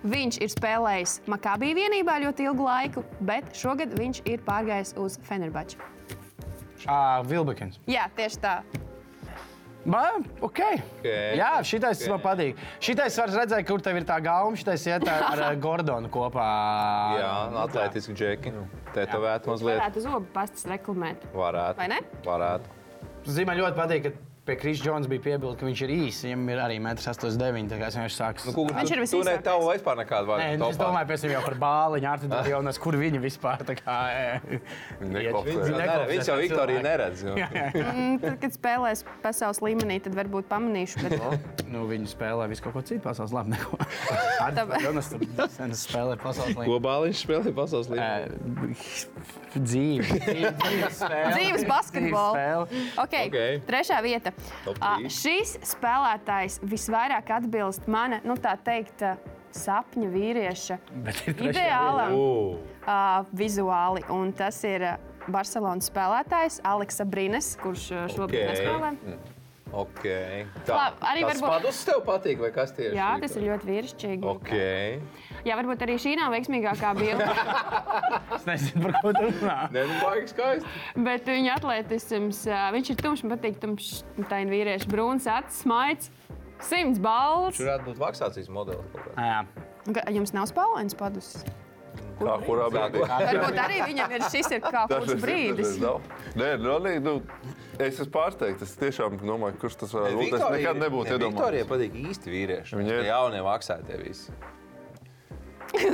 S6: Viņš ir spēlējis Makabī vienībā ļoti ilgu laiku, bet šogad viņš ir pārgājis uz Fenerbaču.
S2: Ah, Vilbekins.
S6: Jā, tieši tā.
S2: Ba, okay.
S3: Ok.
S2: Jā, šitais okay. man patīk. Šitais var redzēt, kur tev ir tā gauma. Šitais iet ar eh, Gordonu kopā.
S3: Jā, atletiski džeki. Tetovēt mazliet.
S6: Varētu zobu pastas reklamēt.
S3: Varētu.
S6: Vai ne?
S3: Varētu.
S2: Zīmē ļoti patīk, ka pie Krisa Jonas bija piebilde, ka viņš ir īss. Viņam ir arī 1,89 m. Viņš sāks. Nu,
S3: Kukur,
S6: Viņš
S3: tu- Tu
S6: ir
S3: ne
S6: visīsākais.
S3: tavu vispār nekādu
S2: Nē,
S3: vārdu.
S2: nu, es domāju, pēc tam jau par bāliņu, Artiņu Jonas, kur viņi vispār tā kā.
S4: neklopē.
S2: Viņi neklopē,
S3: Viņš jau
S2: tā
S3: Viktoriju
S2: cilvēki.
S3: neredz. jo.
S6: Mm, Tad, kad spēlēs pasaules līmenī, tad varbūt pamanīšu. Bet...
S2: Nu, viņi spēlē visu kaut ko citu pasaules labi. Neko. Artiņu Jonas tur sen spēlē pasaules līmenī.
S3: Globāliņš spēlē pasaules līmenī.
S2: Eh, Dzīve. Dzīve- dzīves spēle.
S6: Dzīves basketbola.
S2: Dzīves spēle.
S6: Okay. Okay.
S3: Ok.
S6: Trešā vieta.
S3: Top
S6: Ā,
S3: trīs.
S6: Šis spēlētājs visvairāk atbilst mana, nu tā teikt, ā, sapņu vīrieša ideālam
S3: Ū.
S6: uh, vizuāli. Un tas ir ā, Barcelonas spēlētājs Aleksa Brīnes, kurš ā, šobrīd
S3: Ok.
S6: okay. spēlē.
S3: Ok.
S6: Labi, arī
S3: tas
S6: varbūt-
S3: padus tev patīk, vai kas tieši?
S6: Jā, tas ir ļoti vīrišķīgi.
S3: Ok.
S6: Jā, varbūt arī šī nav veiksmīgākā bilde,
S2: Es nezinu, par ko tu runā.
S3: Nē, nu, baigi skaisti.
S6: bet viņa atletisms, ā, viņš ir tumšs, man patīk tumšs, tā ir vīrieša brūns, acis, maigs, simts balvas.
S3: Tur varētu būt maksācijas modelis. kaut kāds.
S2: Jā.
S6: Ga- Jums nav spēlēns padus.
S4: Kā kurā brīdī?
S6: Varbūt arī viņam ir šis ir kaut kāds
S4: ir,
S6: brīdis.
S4: dažreiz nav. Nē, nu, nē, nu, es esmu pārsteigts. Es tiešām domāju, kurš nu, tas varētu būt. Es
S3: Viktorija-
S4: nekad nebūtu
S3: ne, Viktorijai
S4: iedomājies.
S3: patīk īsti vīrieši.
S4: Viņai
S3: Viņai
S4: ir-
S3: ir jaunie maksātie visi.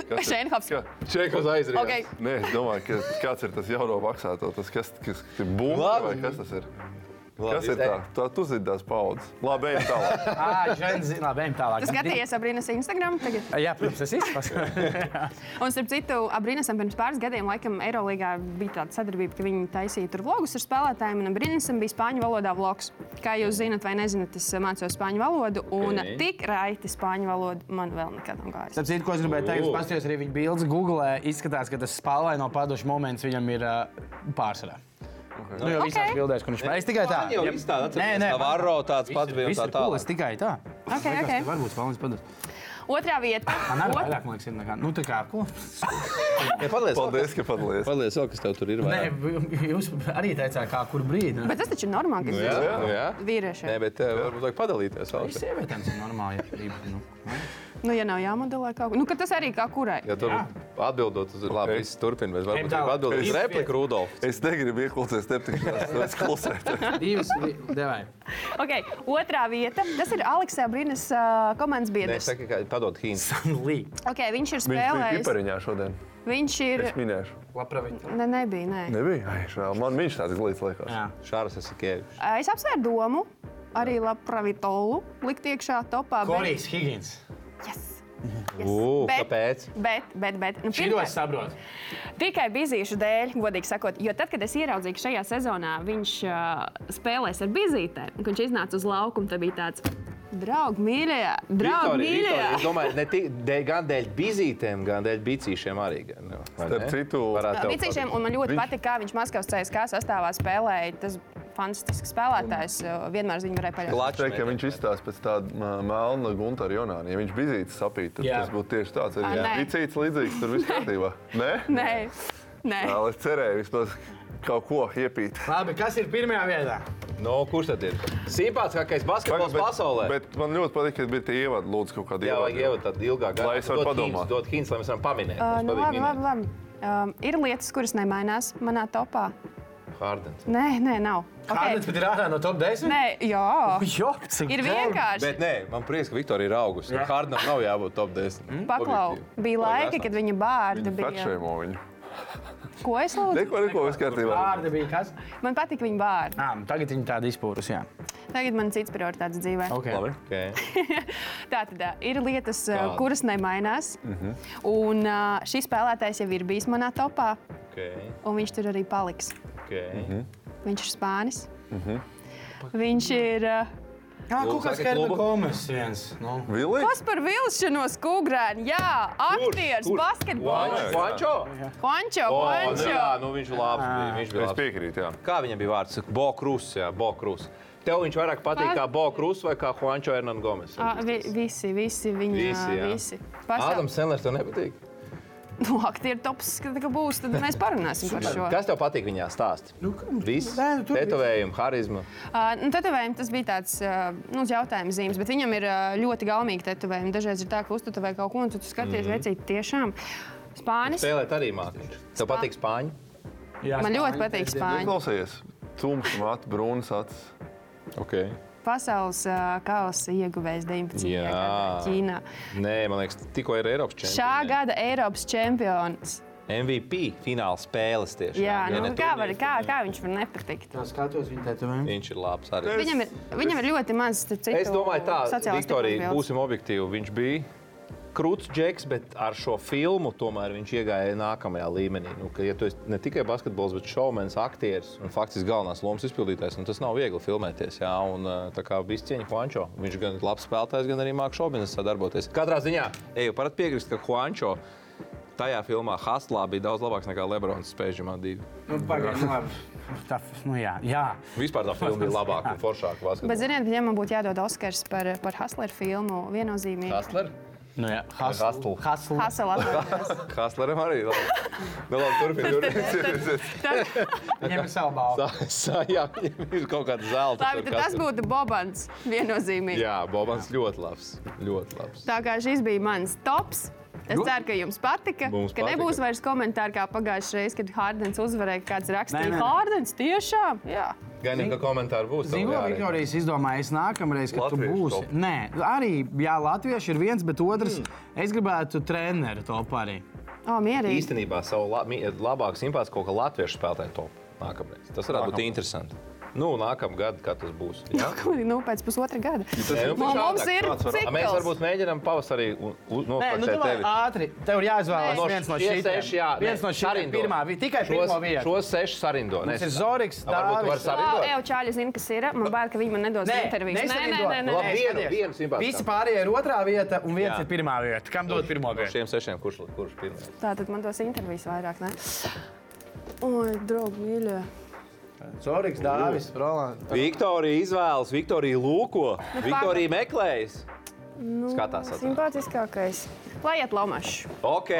S4: Kas ir-
S6: Šeinhofs.
S4: Ka-
S3: Čekos aizrīt.
S6: Okay.
S4: Nē, es domāju, ka, kāds ir tas jauno maksāto, tas kas, kas ir būvniecība vai
S3: Labi.
S4: kas tas ir. Kas ir tā? Tā tu zini tās paudzes. Labi, ejam tālāk.
S2: Ah, ženzi, labi, ejam tālāk.
S6: Tu skaties, Abrīnas Instagram tagad.
S2: Jā, protams, es izpasakoju.
S6: Un, starp citu, Abrīnasam pirms pāris gadiem, laikam, Eirolandā bija tāda sadarbība, ka viņi taisīja tur vlogus ar spēlētājiem. Un Abrīnasam bija spāņu valodā vlogs. Kā jūs zinat, vai nezināt, es eh, mācos spāņu valodu. Un
S3: Ok.
S6: tik raiti spāņu valodu man vēl nekad nav gājis.
S2: Starp citu, ko es gribēju teikt, es paskatījos arī viņa bildes Google. Izskatās, ka tas spēlē no padošu moments viņam ir uh, pārsvarā. Nu, jau visās
S6: Ok.
S2: bildēs, kur viņš spēlē. Es tikai tā.
S3: jau viss tāds
S2: Nē,
S3: atceries,
S2: nē,
S3: tā
S2: man-
S3: Varro tāds pats bija un
S2: Viss
S3: tā
S2: ir cool,
S3: tālāk.
S2: es tikai tā.
S6: Ok,
S2: Vienkārši
S6: ok.
S2: Varbūt spēlēs padošu.
S6: Otrā vieta.
S2: Ah, Man arī
S6: Ot-
S2: vairāk, man liekas, ir nekā. Nu, tā kā, ko?
S3: Ja Paldies!
S4: Paldies, ka padalījies.
S3: Paldies, vēl, kas tev tur ir.
S2: Nē,
S3: vairāk.
S2: jūs arī teicāt, kā kur brīdī.
S6: Bet tas taču ir normāli, ka
S3: Nu jā,
S6: tas
S3: nu jā.
S6: ir vīriešiem.
S3: Nē, bet tev varbūt vajag padalīties. vēl.
S2: Visiem sievietēm tas ir normāli. ja brīdi, nu.
S6: Nu, ja nav jāmodelē kaut kā, nu, tad tas arī kā kurai.
S3: Ja tur atbildot, tad labi, viss turpina. Vai
S2: tālāk.
S3: varbūt gribi atbildēt uz
S2: Es-
S3: repliku, Rudolf?
S4: Es negribu ieklausīties teptikšanās, es klausēju.
S2: Divas, vi- devai.
S6: Okay, otrā vieta. Tas ir Aleksa Brīnas uh, komandas
S3: Nē,
S6: biedrs.
S3: saka, ka padod hints.
S2: Nu, lī.
S6: Okay, viņš ir
S4: Viņš bija
S6: spēlējis.
S4: pipariņā šodien.
S6: Viņš ir.
S4: Es minēšu.
S2: Labprāt.
S6: Ne, nebija. Nē.
S4: Nebija? Ai, žēl. Man viņš tāds glīts liekas.
S2: Jā.
S3: Šāras esmu kēvis.
S6: Ā, Eh, Es apsvēru domu, arī Latvijas-Tolu likt iekšā topā.
S2: Korijs Higgins.
S6: Bet, yes, yes.
S3: Mhm. Ū,
S6: Bet-
S3: kāpēc?
S6: Bet, bet, bet. Nu,
S2: Šī to
S6: pirmkārt-
S2: es saprotu.
S6: Tikai bizīšu dēļ, godīgi sakot, jo tad, kad es ieraudzīju, ka šajā sezonā viņš uh, spēlēs ar bizītēm, un ka viņš iznāca uz laukumu, tad bija tāds draugs, mīļā, draugs,
S3: Viktorija, Viktorija, Es
S6: mīļā.
S3: domāju, ne tik dēļ, gan dēļ bizītēm, gan dēļ bicīšiem arī. Gan, nu, vai
S4: Starp
S3: ne?
S4: citu,
S3: Varētu tev
S6: Vicīšiem, un man ļoti
S4: Viņš-
S6: patīk, kā viņš Maskavas CSK sastāvā spēlēja. Tas fantastisks spēlētājs, uh, vienmēr uz viņu varēja paļauties.
S4: Es teiktu, ka viņš izstāsta pēc tāda melna Gunta Jonāna. Ja viņš bija zīts sapīt, tad
S2: Jā.
S4: tas būtu tieši tāds.
S6: Ā,
S4: Arī
S6: nē.
S4: vicīts līdzīgs, tur viss kārtībā. Nē?
S6: Nē, nē.
S4: Jā, es cerēju vismaz kaut ko iepīt.
S2: Labi, kas ir pirmajā vietā?
S3: No, Nu, kurš tad ir? Simpātiskākais
S4: Paga,
S3: basketbols pasaulē.
S4: bet man ļoti patīk, ka bija tie ievadi, lūdzu, kaut kādi
S3: Jā, vajag
S4: ievadi.
S3: ievadīt tādu ilgāku
S4: Lai es varu padomāt.
S3: Dod hints, lai mēs varam pamanīt.
S6: Uh, nu, labi, labi, labi. Um, ir lietas, kuras nemainās manā topā.
S3: Hardens.
S6: Nē, nē, nav.
S2: Kāda okay. ir ārā no top 10?
S6: Nē, jā.
S2: Jo, cik
S6: Ir
S2: daudz.
S6: vienkārši.
S3: Bet nē, man prieks, ka Viktorija ir augusi.
S2: Jā.
S3: Hardam nav jābūt top 10.
S6: Mm? Paklau, bija laiki, kad viņa bārda bija.
S4: Atšķēmo viņu.
S6: Ko es lūdzu?
S4: Neko, neko, viss kārtībā.
S2: Vārdi bija kas?
S6: Man patīk viņa bārda.
S2: Nā, nu tagad viņi tādi izpūras, jā.
S6: Tagad man cits prioritāts dzīvē.
S2: Okay.
S3: Labi. Okay.
S6: Tā tad ā, ir lietas, Kāda?
S3: Kāda?
S6: kuras nemainās. Mm -hmm. Un ā, šis spēlētājs jau ir bijis manā topā,
S3: Okay.
S6: un viņš tur arī paliks.
S3: Okay.
S6: Viņš ir spānis. Mm -hmm. Viņš ir. ā,
S2: Jā, kaut kāds
S3: saki
S2: Kerba
S3: klubu?
S2: Gomes viens. Nu.
S4: Vili?
S6: Kas par vilšanos kūgrēnu? Jā, aktieris, basketbols.
S3: Vančo?
S6: Končo,
S3: O, nu
S6: končo.
S3: Jā, nu viņš labs bija. Viņš bija
S4: Es
S3: labs.
S4: piekrītu, jā.
S3: Kā viņam bija vārds? Bokrus, jā, Bokrus. Tev viņš vairāk patīk kā Bokrus vai kā Juančo Hernan Gomes?
S6: Ā, vi, visi, visi viņa.
S3: Visi, jā.
S6: Visi. Pasaul...
S3: Ādams Sandlers tev nepatīk?
S6: Nu, aktieru tops, kad tā būs, tad mēs parunāsim par šo.
S3: Kas tev patīk viņā stāst? Nu, Viss.
S2: Nē, nu, tur viss.
S3: Tetovējumi, harizma.
S6: Uh, nu, tetovējumi tas bija tāds uh, nu, uz jautājuma zīmes, bet viņam ir uh, ļoti gaumīgi tetovējumi. Dažreiz ir tā, ka uztetavē kaut ko, un tu skaties,
S3: Mhm.
S6: mm -hmm. vecīt, tiešām. Spānis.
S3: Spēlēt arī mākslinieks. Tev patīk spāņu?
S2: Jā,
S6: Man ļoti patīk spāņu.
S4: Klausies, tumšs matu, brūns acis.
S3: Okay.
S6: Pasaules uh, kausa ieguvējs 19.
S3: Jā.
S6: gadā Ķīnā.
S3: Nē, man liekas, tikko ir Eiropas
S6: Šā
S3: čempions.
S6: gada Eiropas čempions.
S3: MVP fināla spēles tieši.
S6: Jā,
S3: Ja
S6: nu,
S3: ne
S6: kā, var,
S3: turnīrs,
S6: kā,
S3: tad ne.
S6: kā viņš var nepatikt?
S2: Tā skatos viņa tetovējumu.
S3: Viņš ir labs arī.
S6: Viņam ir, viņam ir ļoti maz starp citu,
S3: Es domāju, tā,
S6: sociālās
S3: Viktorija,
S6: tikuma bildes.
S3: būsim objektīvi. Viņš bija krūts džeks, bet ar šo filmu tomēr viņš iegāja nākamajā līmenī. Nu, ka, ja tu esi ne tikai basketbols, bet šovmenis, aktieris un faktiski galvenās lomas izpildītājs, nu, tas nav viegli filmēties. Jā, un eh, tā kā viss cieņa Juančo. Viņš gan ir labs spēlētājs, gan arī mākslinieks šovmenis sadarboties. Katrā ziņā, eju parat piekrist, ka Juančo tajā filmā Haslā bija daudz labāks nekā Lebrons spēļģimā divi.
S2: Nu, pagaidām, labi. Tā, nu jā, jā.
S3: Vispār tā filma bija labāka un foršāka.
S6: Bet,
S3: basketbolā.
S6: ziniet, ja man būtu jādod Oskars par, par Hasleru filmu, viennozīmīgi.
S3: Hustler?
S2: Nu jā,
S3: Hustle.
S2: Hasl.
S6: Hasela
S3: Hustleram arī. labi. Nu, labi, turpini. turpini.
S2: Ņem savu balvu.
S3: Tā- tā, Jā, viņam ir kaut kāda zelta.
S6: Labi,
S3: tur
S6: tad tas
S3: katrā.
S6: būtu Bobans. Viennozīmīgi.
S3: Jā, Bobans ļoti labs. Ļoti labs.
S6: Tā kā šis bija mans tops. Es ceru, ka jums patika.
S3: Nu. Mums
S6: ka nebūs
S3: patika.
S6: vairs komentāru kā pagājušajā reizē, kad Hārdens uzvarēja, ka kāds
S2: Nē,
S6: rakstīja,
S2: nē, nē.
S6: ka Hārdens tiešām. Jā.
S3: Gan jau kā komentāri būs. tev
S2: Zinu, ko
S3: jāreiz.
S2: Viktorijas izdomāja. Es nākamreiz, kad tu
S4: Latviešu
S2: būsi.
S4: top.
S2: Nē, arī, jā, latvieši ir viens, bet otrs. Es gribētu treneru topu arī.
S6: O, mierīgi.
S3: Īstenībā savu la, mi- labāku simpātiju kaut kā latviešu spēlētāju top. Nākamreiz. Tas varētu būt interesanti. Nu, nākamā gada, kad tas būs. Jā?
S6: Nu, pēc pusotra gada.
S3: Nē, nu,
S6: Mums- mums
S3: šādāk,
S6: ir
S3: kāds var- A, Mēs
S6: cikls.
S3: varbūt mēģinām pavasarī u- u-
S2: Nē, nu
S3: nopērkt
S2: tev
S3: tevi.
S2: ātri. Tev ir jāizvēlas
S3: Nē.
S2: viens no
S3: Tie
S2: šiem.
S3: seši, jā,
S2: viens
S3: nē,
S2: no šiem.
S3: sarindo.
S2: Pirmā vieta, tikai pirmā
S3: Šos,
S2: vieta.
S3: šos sešus sarindo. Nē,
S2: Mums ir Zoriks,
S3: A, varbūt tu vari
S2: Dārvis.
S6: Wow,
S3: sarindot?
S6: Evo Čāļa zina, kas ir. Man bail, ka viņi man nedos
S2: Nē,
S6: interviju.
S2: nesarindot.
S3: Labi, vienu,
S2: skaties.
S3: vienu simbāli.
S2: Visi pārējie ir otrā vieta, un viens
S3: Jā.
S2: ir
S3: Nu,
S2: pirmā vieta. Kam dod pirmo
S3: No
S2: vietu?
S3: šiem sešiem, kurš, kurš pirmais?
S6: Tā tad man dos intervijas vairāk. Ne? Oi, draugi, mīļie.
S2: Zoriks, Dārvis, Rolands.
S3: Viktorija izvēlas, Viktorija lūko,
S2: Nu,
S3: Viktorija
S6: Viktorija
S3: meklējas. Skatās, atnāk.
S6: Simpātiskākais. Lai iet lamašs.
S3: Ok,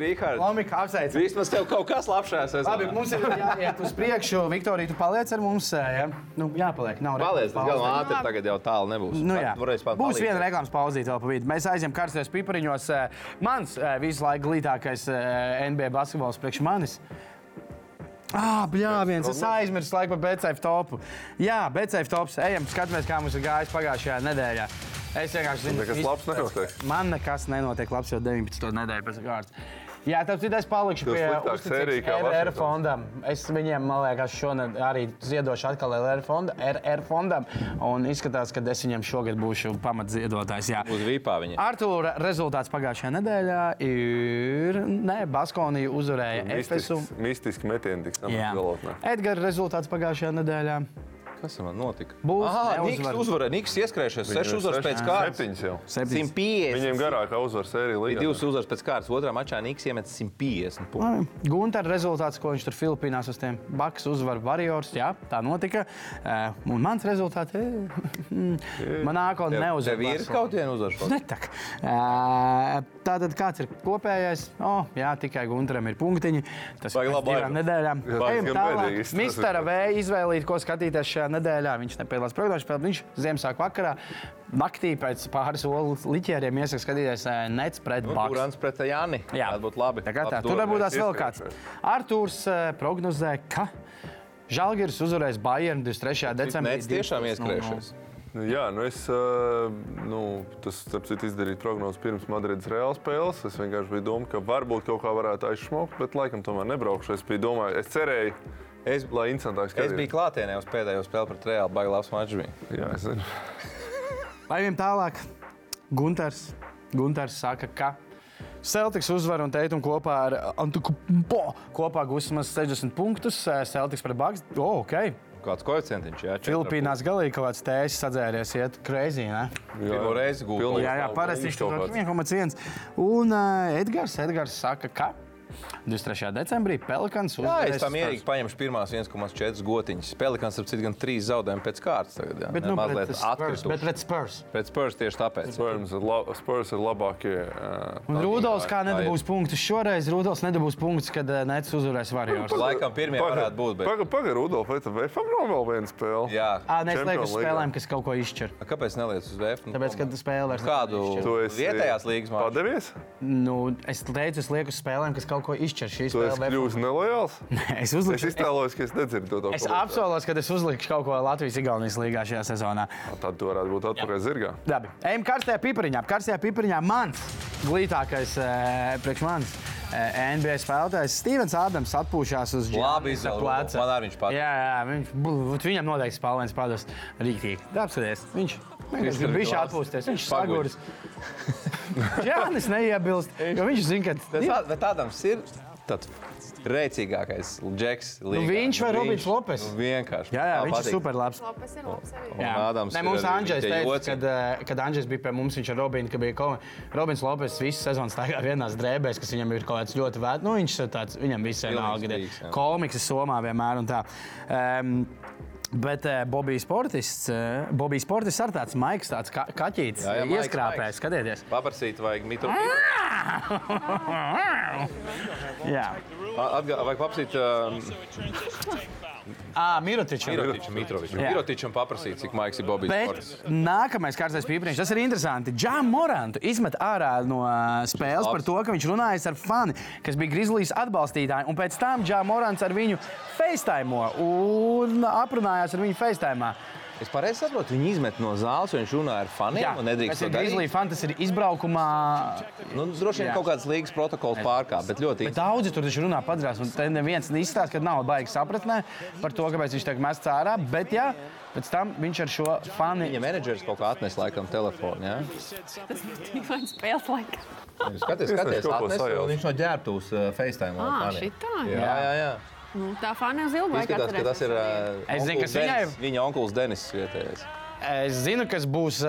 S3: Rihards.
S2: Lomika apsveic.
S3: Vismaz tev kaut kas lapšās.
S2: Labi, mums ir jāiet uz priekšu. Viktorija, tu paliec ar mums. ē, Ja? Nu, jāpaliek. Nav
S3: Paldies, tas galvenā
S6: Labi.
S3: ātri tagad jau tālu nebūs.
S2: Nu,
S3: Pat
S2: jā,
S3: varēs pat
S2: būs
S3: palīdzēt.
S2: viena reklāmas pauzīte vēl pa vidu. Mēs aizjām karstajos pipariņos. eh, Mans eh, visu laiku glītākais eh, NBA basketbols priekš manis. Ah, bļāviens, es aizmirsu laiku par BCF topu. Jā, BCF tops. Ejam, skatāmies, kā mums ir gājis pagājušajā nedēļā. Es vienkārši zinu,
S4: Nekas
S2: visu-
S4: labs nenotiek.
S2: Man nekas nenotiek labs jau 19. nedēļu pēc kārtas. Jā, tāpēc citādi es palikšu
S4: Tev
S2: pie
S4: sliktāk sērija kā
S2: RR
S4: Vašingtons.
S2: fondam. Es viņiem, man liekas, šonad arī ziedošu atkal LR fonda, RR fondam. Un izskatās, ka es viņiem šogad būšu pamatziedotājs. jā.
S3: Uz vīpā viņa.
S2: Artūra rezultāts pagājušajā nedēļā ir. Nē, Baskonija uzvarēja Efesu.
S4: Mistisks, mistisks metiens tiks
S2: Jā,
S4: galotnē.
S2: Edgars rezultāts pagājušajā nedēļā.
S3: Kas man notika?
S2: Būs
S3: Aha, Niks
S2: neuzvara.
S3: uzvarēja. Niks ieskrējušies. Seši
S4: Viņiem
S3: uzvaras
S4: seši-
S3: pēc kārtas.
S4: Septiņas jau.
S3: 150.
S4: Viņiem garākā uzvaras sērija
S3: Bija
S4: līnija.
S3: divas uzvaras pēc kārtas. Otrā mačā Niks iemet 150 punktus.
S2: Gunter rezultāts, ko viņš tur Filipīnās uz tiem Baks uzvaru variors, jā, tā notika. Eh, Un mans rezultāts, manāko neuzvar.
S3: Tev ir
S2: Barcelona.
S3: kaut viena uzvara.
S2: Netak. Eh, Tātad kāds ir kopējais? O, jā, tikai Gunteram ir punktiņi. Tas
S3: Vai
S2: ir pēc
S3: labi,
S2: divām
S3: vai?
S2: nedēļām.
S4: Vai
S2: Ejam
S4: gan
S2: tālāk.
S4: bēdīgs tas
S2: Mistara
S4: ir.
S2: V izvēlīt, ko skatīties šajā nedēļā. Viņš nepiedalās programmā, bet viņš Ziemassvētku vakarā naktī pēc pāris olu liķieriem iesaka skatīties eh, Nets pret
S4: Nu,
S2: Baks.
S3: Kurants Nu, pret Jāni?
S2: Jā.
S3: Tāda būtu labi.
S2: Tā kā tā,
S3: Labi,
S2: tur
S3: domāju.
S2: varbūt tās vēl kāds.
S4: iespējams.
S2: Arthurs eh, prognozē, ka Žalgiris uzvarēs Bayern 23. decembrī.
S3: Nets tiešām
S2: 12:00.
S3: ieskrējušies.
S4: Nu, Jā, nu es ā, nu, tas starp citu izdarīju prognozes pirms Madrides reāla spēles. Es vienkārši biju domājis, ka varbūt kaut kā varētu aizsmaukt, bet laikam tomēr nebraukšu. Es biju domājis, es cerēju,
S3: Es,
S4: lai interesantāks
S3: es biju klātienē uz pēdējo spēli pret Reāli. Baigi labs mačs bija.
S4: Jā, es zinu.
S2: Lai viņam tālāk, Gunters, Gunters saka, ka Celtics uzvar un teiktu kopā ar Antūku kopā gūs vismaz 60 punktus. eh, Celtics pret Bugs. Oh, ok.
S3: Kāds koeficients jā?
S2: Filipīnās galīgi kaut kāds tēsis sadzēries, iet krēsī.
S3: Pirmo reizi gūti.
S4: Pilnīgi.
S2: Jā, jā
S4: Nav
S2: parasti viņš
S4: viņš
S2: tur
S4: kaut
S2: ir
S4: kāds.
S2: 1,1. Un uh, Edgars, Edgars saka, ka 23. decembrī Pelikans
S3: Jā,
S2: uzvarēs.
S3: es tam mierīgi paņemšu pirmās 1,4 gotiņas. Pelikans ar citu gan trīs zaudējumu pēc kārtas. Tagad, jā,
S2: Bet, nu,
S3: mazliet
S2: pret Spurs, bet
S3: atkrituši.
S2: pret Spurs.
S3: Pēc Spurs tieši tāpēc.
S4: Spurs ir, la Spurs ir labākie. ā,
S2: Un Rudolfs kā
S3: tā ir.
S2: nedabūs punktus šoreiz, Rudolfs nedabūs punktus, kad eh, Nets uzvarēs Varjors.
S3: Laikam pirmie varētu būt. Bet...
S4: Pagaid, paga, Rudolf, vai tev vēl nav vēl viena spēle?
S3: Jā,
S2: Ā, nē, es lieku uz
S4: Champions League.
S2: spēlēm, kas kaut ko izšķir.
S3: A, kāpēc neliec uz VF? Nu,
S2: Tāpēc, kad spēle vairs
S3: kādu
S4: Tu esi
S3: vietējās līgas mākslinieku
S4: Padevies?
S2: Nu, es teicu, es lieku uz spēlēm, kas kaut ko izšķir. Šī
S4: Tu
S2: spēle
S4: esi
S2: vēl-
S4: kļuvis nelojāls?
S2: Es
S4: Es
S2: uzliku.
S4: iztēlojos, ka es nedzirdu to.
S2: Es apsolos, ka es uzlikšu kaut ko Latvijas-Igaunijas līgā šajā sezonā.
S4: Tad tu varētu būt atpakaļ zirgā.
S2: Labi, ejam karstajā pipariņā. Karstajā pipariņā mans glītākais, eh, priekš manis, eh, NBA spēlētājs Stevens Ādams atpūšās uz
S3: Labi
S2: Giannis
S3: izvēle,
S2: pleca.
S3: man arī viņš patīk.
S2: Jā, jā viņš, bū- būt viņam noteikti spēlēns padas rīktīgi. Apskaties, viņš. Viņš
S3: tur
S2: bija
S3: glāzes.
S2: atpūsties, viņš
S3: Paguļ.
S2: saguris. Jā, es neiebilstu, jo viņš zina, ka
S3: spēlētāju. Bet Ādams ir tad rēcīgākais džeks. Nu,
S2: viņš vai Robins Lopes?
S3: Nu, vienkārši.
S2: Jā, jā,
S3: Man
S2: viņš
S3: patīk.
S2: ir superlabs.
S6: Lopes ir labs arī.
S3: Un Ādams
S2: Nē,
S3: ir
S2: mums
S3: arī
S2: Andrzejs
S3: tie
S2: teica,
S3: joci.
S2: kad, eh, kad Andrzejs bija pie mums, viņš ar Robinu, ka bija kaut kāds Robins Lopes visu sezonu stāvā vienās drēbēs, kas viņam ir kaut kāds ļoti vērts. Nu, viņš ir tāds, viņam visiem
S3: Pilnīgs
S2: nāk,
S3: dīks, jā.
S2: ir komiks, somā vienmēr un tā. Um, Bet uh, Bobijs Sportists, uh, Bobijs Sportists ar tāds maigs, tāds ka kaķītis,
S3: Jā, jā, maigs,
S2: ieskrāpējis.
S3: maigs.
S2: Skatieties,
S3: Paprasīt, vajag mitru.
S2: jā.
S3: Atgā, vajag paprasīt um,
S2: À, Mirotičs.
S3: Mirotičam, Mitrovičam.
S2: Jā.
S3: Mirotičam paprasīt, cik maigs ir Bobijs.
S2: Bet
S3: Portis.
S2: nākamais kārtas pieprasījums, tas ir interesanti. Džāmas Morantu izmet ārā no ā, spēles
S3: labs.
S2: par to, ka viņš runājas ar fani, kas bija Grizzlies atbalstītāji. Un pēc tam Džāmas Morants ar viņu FaceTime un aprunājās ar viņu FaceTime.
S3: Es pareizi saprotu, viņi izmet no zāles, jo viņš runā ar faniem un nu, nedrīkst
S2: tas
S3: to
S2: ir
S3: darīt.
S2: Grizzly fans, tas ir izbraukumā.
S3: Nu, droši vien
S2: Jā.
S3: kaut kādas līgas protokols pārkāpj, bet ļoti
S2: Bet daudzi tur taču runā padrās, un te neviens neizstāsta, ka nav baigi sapratnē par to, kāpēc viņš tiek mests ārā. Bet, jā, pēc tam viņš ar šo fani
S3: Viņa menedžeris kaut kā atnesa laikam telefonu. Ja?
S6: Tas ir dīvains spēles laiks.
S3: Viņš Skaties, skaties,
S4: Es nezinu, kaut ko
S3: atnesa,
S4: sajaucu.
S3: un viņš no ģērbtuves uh, FaceTime. ar
S6: Ā,
S3: faniem.
S6: šitā,
S3: jā,
S2: jā.
S3: jā, jā.
S6: Nu, tā fani uz ilgu laiku
S3: Izskatās, ka tas ir. Uh,
S2: Es zinu,
S3: onkulis
S2: kas viņai-
S3: Denis, Viņa onkulis Denis vietējais.
S2: Es zinu, kas būs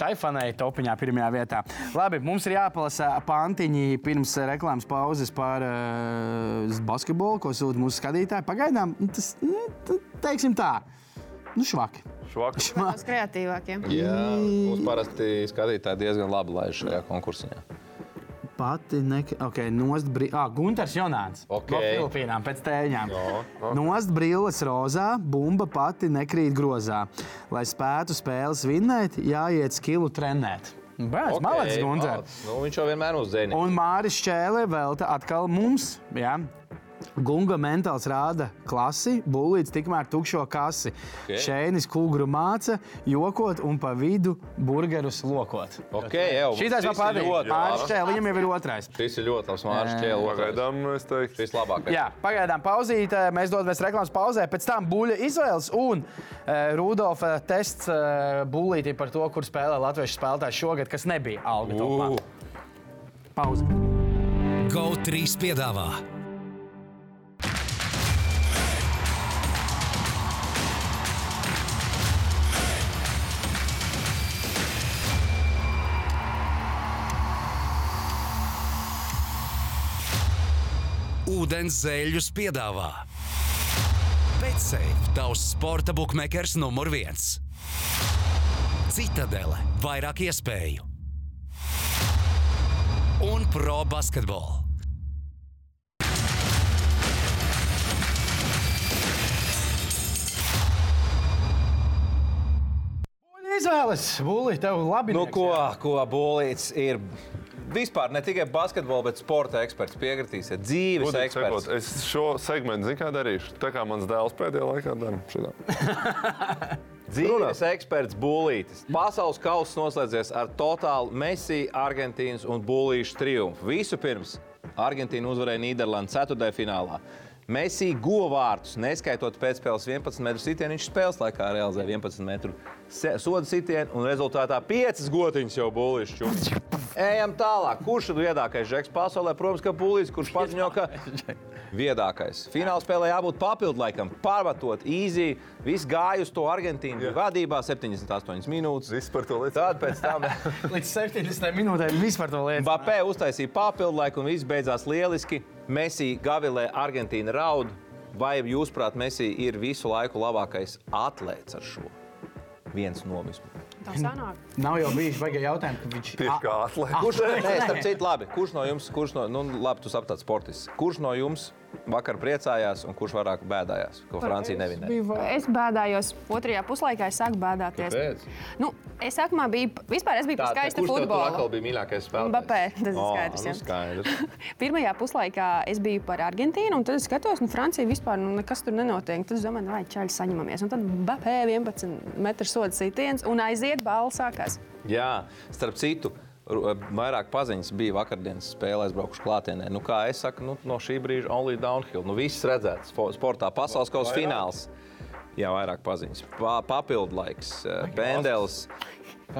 S2: Taifanai topiņā pirmajā vietā. Labi, mums ir jāpalasa pantiņi pirms eh, reklāmas pauzes par eh, basketbolu, ko sūta mūsu skatītāji. Pagaidām nu, tas, nu, t- teiksim tā, nu švaki.
S4: Švakar.
S6: Tas kreatīvākiem.
S3: Jā, mums parasti skatītāji diezgan labi laiž šajā konkursā.
S2: Pati neka... Ok, nost brīvs. Ah, Gunters Jonāns.
S3: Ok.
S2: No Filipīnām pēc tēņām. No, no. Nost brīvs rozā, bumba pati nekrīt grozā. Lai spētu spēles vinnēt, jāiet skilu trenēt. Bērns, okay. malācis, Gunters.
S3: Nu, viņš jau vienmēr mums zina.
S2: Un Māris Čēlē velta atkal mums. Jā. Gunga mentāls rāda klasi, būlīts tikmēr tukšo kasi. Okay. Šēnis kūgru māca, jokot un pa vidu burgerus lokot.
S3: Okay, jau,
S2: Šītais man
S3: šis ir
S2: patīk.
S3: ļoti
S2: Māris
S3: labs.
S2: Čēlē, viņam jau ir otrais.
S3: Šis ir ļoti labs mārciņš, ķēlis.
S4: Pagaidām es teiktu,
S3: Šis labākais.
S2: Jā, pagaidām pauzīte. Mēs dodamies reklāmas pauzē, pēc tam buļļa izvēles un e, Rudolfa tests e, buļlītī par to, kur spēlē latviešu spēlētāji šogad, kas nebija alga. topā.
S3: Ū.
S2: Pauze.
S1: GO3 piedāvā Ūdens zēļus piedāvā Betsafe, tavs sporta bukmekers numur viens. Citadele, vairāk iespēju un pro basketbolu.
S2: Buļļa izvēles. Buļļa, tev labi.
S3: Nu, ko, ko Bolīts ir? Vispār ne tikai basketbola, bet sporta eksperts piekritīs. ir Dzīves
S4: Godīgi
S3: eksperts.
S4: sakot, es šo segmentu zinu, kā darīšu. Tā kā mans dēls pēdējā laikā dara šitā.
S3: Dzīves eksperts Bulītis. Pasaules kausa noslēdzies ar totālu Messi, Argentīnas un Bulīšu triumfu. Vispirms Argentīna uzvarēja Nīderlandes ceturtajā finālā. Messi guva vārtus, neskaitot pēcspēles 11 metru sitienu. Viņš spēles laikā realizēja 11 metru se- sodu sitienu un rezultātā 5 gotiņas jau Bulīšu čūskas. Ejam tālāk. Kurš ir viedākais žeks pasaulē? Protams, ka Bulīts, kurš paziņo, ka Viedākais. Fināla spēlē jābūt papildlaikam, pārvatot īzī. Viss gāja uz to Argentīnu. Bija vadībā 78 minūtes.
S4: Viss par to liecina.
S3: Tad pēc tam
S2: Līdz 70 minūtēm vispār to lietu.
S3: Bapē uztaisīja papildlaiku un viss beidzās lieliski. Messi gavilē Argentīnu raud. Vai jūsuprāt, Messi ir visu laiku labākais atlēts ar šo? Viens no visiem.
S6: Tā sanāk.
S2: Nav jau bijis baigta jautājuma, ka viņš
S4: Tieši kā atlētā.
S3: Kurš, nē, starp citu, labi, kurš no jums, kurš no, nu, labi, tu saprati, sportists. Kurš no jums vakar priecājās un kurš vairāk bēdājās, ko Francija nevinēja?
S6: Es bēdājos. Otrajā puslaikā es sāku bēdāties. Nu, es sākumā biju, vispār es biju pie skaista futbola.
S3: bija mīļākais
S6: Mbappé, tas ir skaidrs, jā.
S3: Nu, skaidrs.
S6: Pirmajā puslaikā es biju par Argentīnu, un tad es skatos, nu, Francija vispār nu, nekas tur nenotiek. Tad es domāju, nu, vai ķēļi saņemamies. Un tad Bapē 11 metru soda sitiens, un aiziet balva sākās.
S3: jā, starp citu. ru- Vairāk paziņas bija vakardienas spēlē, es braucu klātienē. Nu, kā es saku, nu, no šī brīža only downhill. Nu, viss redzēts, Spo- sportā pasaules kausa fināls. Jā, vairāk paziņas. Pa, papildu laiks, eh, pendels,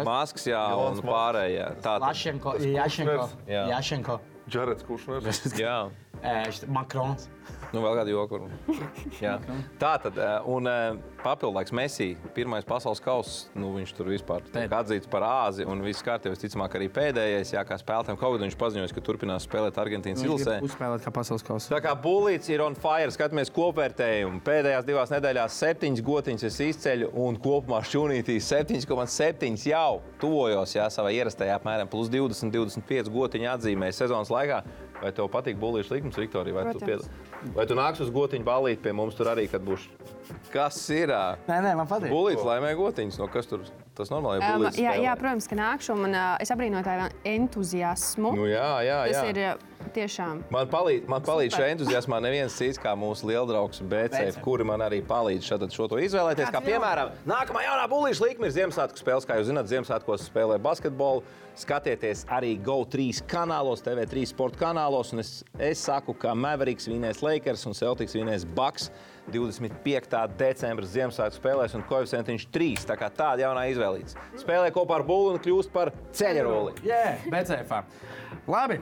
S3: maskas, jā, un pārējā. Tā tad,
S2: Lašenko, Jašenko,
S3: Jā.
S2: Jašenko,
S4: Džarets Kušners.
S3: jā.
S2: eh, šit- Makrons.
S3: Nu, vēl kāda joku. varbūt. Jā. Tā tad, eh, un eh, papildus Messi, pirmais pasaules kausa, nu, viņš tur vispār tiek atzīts par āzi, un viss kārtībā, visticamāk, arī pēdējais, jā, kā spēlētājiem kaut kad viņš paziņoja, ka turpinās spēlēt Argentīnas ilsē.
S2: Uzspēlēt kā pasaules kausā.
S3: Tā kā būlīts ir on fire, skatāmies kopvērtējumu. Pēdējās divās nedēļās septiņas gotiņas es izceļu, un kopumā šķūnītī 7,7 jau tuvojos jā, savā ierastajā apmēram plus 20, 25 gotiņu atzīmē sezonas laikā. Vai tev patīk būlīšu likums, Viktorija? Vai, tu
S6: Protams.
S3: pied- vai tu nāks uz gotiņu balīt pie mums tur arī, kad būs? Kas ir? ā?
S2: Nē, nē, man patīk.
S3: Būlīts laimē gotiņas, no kas tur tas normāli
S6: Um,
S3: ir?
S6: jā, jā, protams, ka nākšu, un uh, es abrīnoju tādu entuziasmu.
S3: Nu, jā, jā, jā.
S6: Tas ir uh, tiešām.
S3: Man palīdz, man palīdz
S6: Super.
S3: šajā entuziasmā neviens cits, kā mūsu lieldraugs BC, kuri man arī palīdz šādi šo to izvēlēties. Kā
S6: Kāds
S3: piemēram, nākamā jaunā būlīša līnija ir Ziemassvētku spēles. Kā jūs zināt, Ziemassvētkos spēlē basketbolu. Skatieties arī GO3 kanālos, TV3 sporta kanālos. Un es, es saku, ka Mavericks vinnēs Lakers un Celtics vinnēs Bucks 25. decembra Ziemassvētku spēlēs un koeficientiņš 3. Tā kā tāda jaunā izvēlīta. Spēlē kopā ar Bullu un kļūst par ceļaroli.
S2: Jā, BCF. Labi.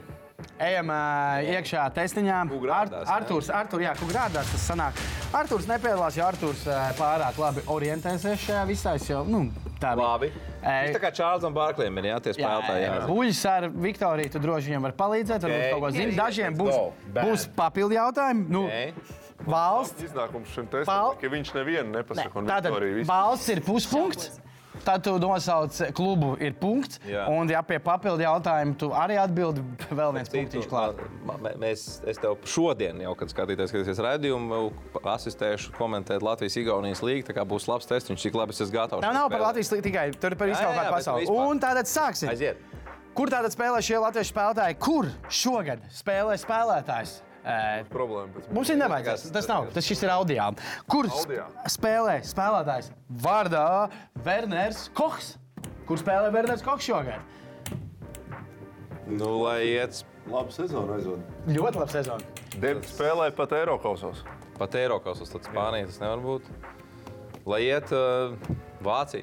S2: Ejam ā, iekšā testiņā.
S3: grādās, ne?
S2: Arktūrs, Artur, jā, kur grādās tas sanāk. Arktūrs nepiedalās, jo Arktūrs pārāk labi orientēsies šajā visā. Es jau, nu, tā bija.
S3: Labi.
S2: Ej.
S3: Tas tā kā Čārlzam Bārkliem ir jāties spēlētāji. jā.
S2: Buļs ar Viktoriju, tu droši viņam var palīdzēt, varbūt
S3: Ok.
S2: kaut ko zina. Dažiem
S3: Let's
S2: būs,
S3: go. Bam.
S2: būs papildu jautājumi. Nu,
S3: Ei.
S2: valsts.
S4: Iznākums šim
S2: Pal-
S4: testam, ka viņš nevienu nepasaka, un
S2: Tātad
S4: Viktorija visu.
S2: balss ir puspunkts. Tad tu nosauc klubu, ir punkts. Jā.
S3: Jā.
S2: Un, ja pie papildu jautājuma tu arī atbildi, vēl viens
S3: Citu,
S2: punkts klāts.
S3: ma- ma- Mēs, es tev šodien, jau, kad skatīties, skatīsies raidījumu, asistēšu komentēt Latvijas-Igaunijas līniju. Tā kā būs labs tests, viņš cik labi es esmu gatavs.
S2: Tā
S3: šai
S2: nav par
S3: spēlē.
S2: Latvijas līniju tikai, tur ir par
S3: Jā,
S2: visu kaut
S3: jā,
S2: kādu
S3: bet
S2: pasauli.
S3: vispār.
S2: Un tātad sāksim.
S3: Aiziet!
S2: Kur tātad spēlē šie latviešu spēlētāji? Kur šogad spēlē spēlētājs? Eh,
S4: Problēma pēc
S2: Mums ir nevajadzīgs. Tas nav, tas šis ir audio. Kur sp
S4: Audio.
S2: spēlē spēlētājs? Vārdā Werners Kochs. Kur spēlē Werners Kochs šogad?
S3: Nu, lai iet
S4: Labu sezonu aizvada.
S2: Ļoti labi sezona.
S4: Debi spēlēja pat Eiropasos.
S3: pat Eiropas, tas Spānijas, tas nevar būt. Lai iet uh, Vācija.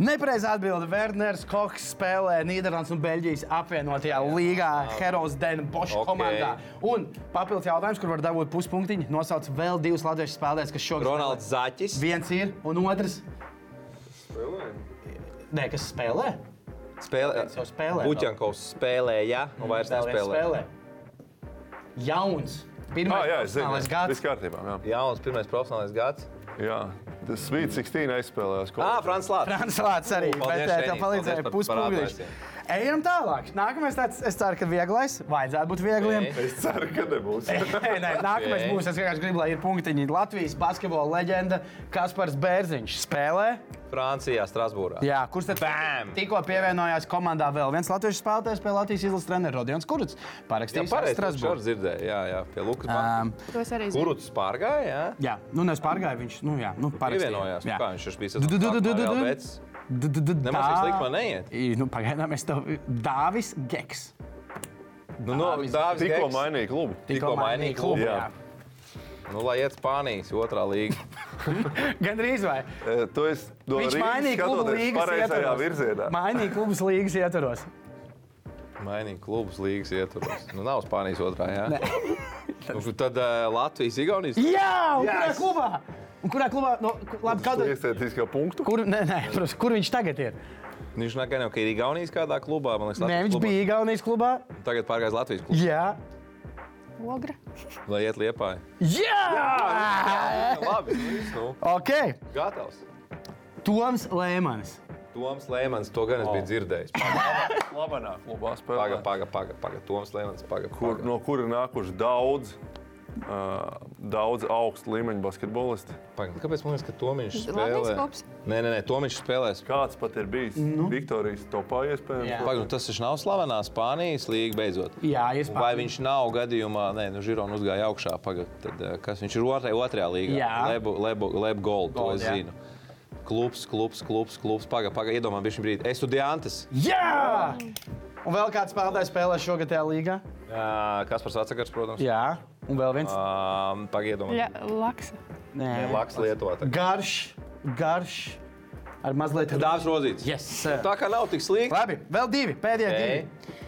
S2: Nepareizā atbilde. Werners Kochs spēlē Nīderlandes un Beļģijas apvienotajā līgā Heroes Den Bosch
S3: Ok.
S2: okay. komandā. Un papildus jautājums, kur var dabūt puspunktiņu, nosauc vēl divus latviešu spēlētājus, kas šogad
S3: Ronalds Zaķis.
S2: spēlē. Viens ir, un otrs Nē, kas spēlē.
S3: Spēlē.
S2: Viens jau spēlē.
S3: Buķankovs spēlēja, un vairs
S2: Vēl viens
S3: nespēlē.
S2: spēlē. Jauns. Pirmā
S4: Ah, jā, es zinu. Viss
S2: gads.
S4: kārtībā. Jā,
S3: Jauns, pirmais profesionālais gads.
S4: jā. tas Svīts 16 aizspēlējās.
S3: Ah, Frants Lārts.
S2: Translāts arī.
S3: U,
S2: Bet
S3: paldies,
S2: eh, tev
S3: Renī, paldies
S2: palīdzēja
S3: par-
S2: puspunkts.
S3: par
S2: Ejam tālāk. Nākamais tāds, es ceru, ka vieglais. Vajadzētu būt viegliem.
S3: Ei.
S4: Es ceru, ka nebūs.
S2: Nē, nē, nākamais
S3: Ok.
S2: būs. Es vienkārši gribu, lai ir punktiņi. Latvijas basketbola leģenda Kaspars Bērziņš spēlē.
S3: Francijā, Strasbūrā.
S2: Jā, kurš tad
S3: Bam!
S2: tikko pievienojās komandā vēl viens latviešu spēlētājs pie Latvijas izlases treneris Rodions Kurts.
S3: Jā,
S2: Parakstījis
S3: pareizi. Es jau
S2: Strasbūrā.
S3: dzirdēju, jā, jā, pie Lukas. Banka.
S2: Um,
S6: To es arī zinu.
S3: Kurus pārgāja? Jā?
S2: jā, nu nevis pārgāja viņš. Nu, jā, nu, parakstīja.
S3: Pievienojās. Nu,
S2: Jā.
S3: Kā viņš tur
S2: Du-
S3: bija?
S2: du- du- du- du- du- du.
S3: Tāpēc nemaz tik slikti man neiet.
S2: I, Nu, pagaidām es tev Dāvis Geks.
S3: Nu, no, Dāvis
S4: Tikko
S3: Geks.
S4: mainīja klubu.
S3: Tikko mainīja klubu.
S4: jā.
S3: Nu, lai iet Spānijas otrā līga.
S2: Gan drīz vai.
S4: E, Tu esi no
S2: Viņš
S4: Rīgas
S2: mainīja klubu
S4: skatoties
S2: līgas
S4: pareizajā virzienā.
S2: ietvaros. Mainīja klubus līgas ietvaros.
S3: Mainīja klubus līgas ietvaros. Nu, nav Spānijas otrā, jā? Nu, tad uh, Latvijas, Igaunijas.
S2: Jā, un kurā
S3: Yes!
S2: klubā? Un kurā klubā? No, ku- labi, kādu,
S4: Iesēties kā punktu.
S2: kur, nē, nē, protams, kur viņš tagad ir?
S3: Viņš nav gan jau, ka ir Igaunijas kādā klubā. Man liekas,
S2: Nē,
S3: Latvijas
S2: viņš
S3: klubā. Nu,
S2: bija Igaunijas klubā.
S3: Tagad pārgājis Latvijas klubā,
S2: Jā,
S6: Ogra.
S3: lai iet liepā.
S2: jā! jā!
S3: Labi, nu, viss, nu,
S2: Ok,
S3: gatavs.
S2: Toms Lēmans.
S3: Toms Lēmans, to gan es
S2: Oh.
S3: biju dzirdējis.
S4: Labanā klubā
S3: Paga,
S4: spēlē.
S3: paga, paga, paga. Toms Lēmans, paga.
S4: Kur,
S3: paga.
S4: no kur ir nākuši daudz, uh, daudz augstu līmeņu basketbolisti.
S3: Pagaid, Kāpēc man liekas, ka Toms
S6: Latvijas
S3: spēlē?
S6: klubs?
S3: Nē, nē, nē Toms spēlēs.
S4: Kāds pat ir bijis nu. Viktorijas topā
S2: Jā.
S4: iespējams?
S3: Pagaid, nu tas taču nav slavenā Spānijas līnija beidzot.
S2: Jā,
S3: Un
S2: iespējams.
S3: Vai viņš nav gadījumā, nē, nu, Žirona uzgāja augšā, pagad, tad, eh, kas viņš ir otrajā, otrajā līgā?
S2: Jā.
S3: Lebu, lebu, lebu gold, to
S2: Gold,
S3: es
S2: jā.
S3: zinu. Klubs, klubs, klubs, klubs. Pagaidā, paga, iedomājieties, bija šī brīdī. Estudiantes.
S2: Jā! Un vēl kāds spēlētājs spēlē šogad tajā līgā?
S3: Kas par sacakars, protams.
S2: Jā, un vēl viens.
S3: Ah, Pagaidā,
S6: Jā, Laksa.
S2: Nē,
S3: Laks Lietuvā.
S2: garš, garš, ar mazliet
S3: Dāvis Rozīts.
S2: Yes.
S3: Tā kā nav tik slikti.
S2: Labi, vēl divi. Pēdējie
S3: Ei.
S2: divi.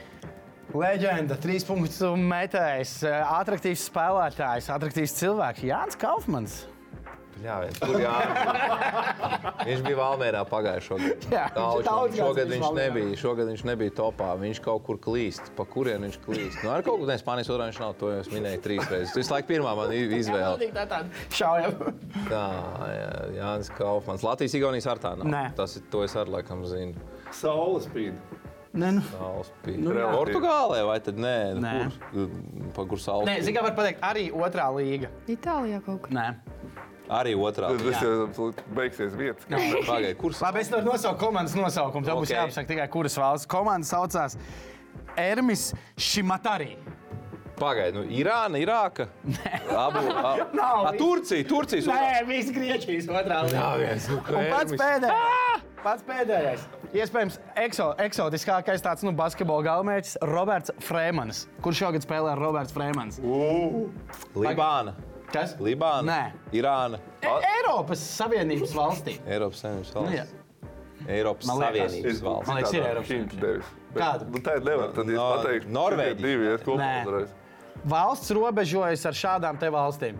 S2: Leģenda, trīs punktu metējs, attraktīvs spēlētājs, attraktīvs cilvēks Jānis Kaufmans.
S3: Jā, tur jā. Viņš bija Valmērā pagājušā gada.
S2: Jā, viņš daudz
S3: Daudz,
S2: gads
S3: šogad,
S2: bijis
S3: viņš
S2: Valmierā.
S3: nebija, šogad viņš nebija topā. Viņš kaut kur klīst. Pa kurien viņš klīst? Nu, ar kaut ko tādu Spānijas otrā viņš nav. To jau es minēju trīs reizes. Visu laiku pirmā man i- izvēle.
S2: Tā tāda šaujama.
S3: Tā, jā, Jānis Kaufmans. Latvijas Igaunijas ar tā nav.
S2: Nē.
S3: Tas ir, to es arī laikam zinu.
S4: Saules spīd.
S2: Nē, nu.
S3: Nu,
S4: jā.
S3: Portugālē vai tad nē? Nu,
S2: Nē.
S3: Kur, pa kur salu?
S2: Nē, zināmā var pateikt, arī otrā līga.
S6: Itālijā kaut kur.
S2: Nē.
S3: Arī otrā.
S4: Tas jau beigsies vietas.
S2: Nu,
S3: Pagaidiet, kur salu?
S2: Labi, es nevaru nosaukt komandas nosaukumu. Tev okay. būs
S3: Ok.
S2: jāapsaka tikai, kuras valsts komanda saucās Ermis Šimatārī.
S3: Pagaidiet, nu, Irāna, Irāka. Abu, a,
S2: Nav.
S3: a, Turcija, Turcijas otrā.
S2: Nē, viss Grieķijas otrā līnija.
S3: Jā, viens, nu,
S2: Un pats
S3: krēmis.
S2: pēdējais. Pats pēdējais. Ah! Iespējams, ekso, eksotiskākais tāds nu, basketbola galvenais - Roberts Frēmans. Kurš šogad spēlē ar Roberts Frēmans?
S3: Libāna.
S2: Kas?
S3: Libāna.
S2: Nē.
S3: Irāna.
S2: E Eiropas Savienības valstī.
S3: Eiropas Savienības
S2: Jā.
S3: valsts. Eiropas
S2: Man liekas.
S3: Savienības valsts.
S2: Man liekas, ir Eiropas
S4: Viņš devis. Bet,
S2: Kādu?
S4: Nu, tā ir nevar. Tad es
S3: No-
S4: pateiktu,
S3: Norvēģija.
S4: tie Divi iet kopā
S2: Nē.
S4: uzreiz.
S2: Valsts robežojas ar šādām te valstīm.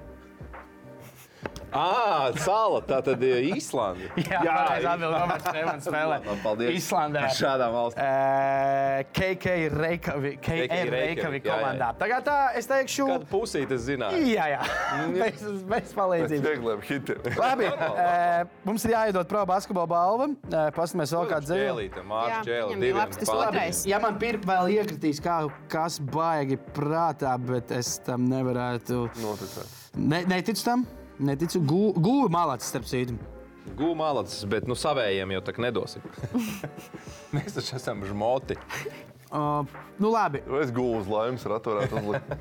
S3: Ā, Ah, sala, tā tad eh, Īslanda.
S2: Jā, pareizi atbild, Roberts Frēmans spēlē.
S3: Paldies.
S2: Islandē.
S3: Šādā valstī.
S2: Eh, KK Reikavik, KR
S3: Reykjavik,
S2: Reikavik
S3: jā, jā.
S2: komandā. Tagad tā, es teikšu,
S3: Kādu pusīti es zināju?
S2: jā, jā,
S3: Mm.
S2: bez, bez
S4: Pēc
S2: palīdzības.
S4: viegliem hitiem.
S2: Labi, eh, mums ir jāiedod pro basketbola balva. Eh, Pastāvēs vēl kāds dzīvojums.
S3: Džēlīte, Mārķis
S6: Jā,
S3: Džēlīte.
S6: viņam bija labs tas otrais.
S2: Ja man pirmā vēl iekritīs, kā, kas baigi prātā, bet es tam nevarētu.
S4: Noticēt.
S2: Ne, neticu tam. Neticu. Gu- Guvi malācis, starp citu.
S3: Gūmu malacis, bet nu savējiem jau tā nedosim. Mēs taču esam žmoti.
S2: Uh, nu, labi.
S4: Vai es gulēju uz laimes, ar atvarētu uzlikt?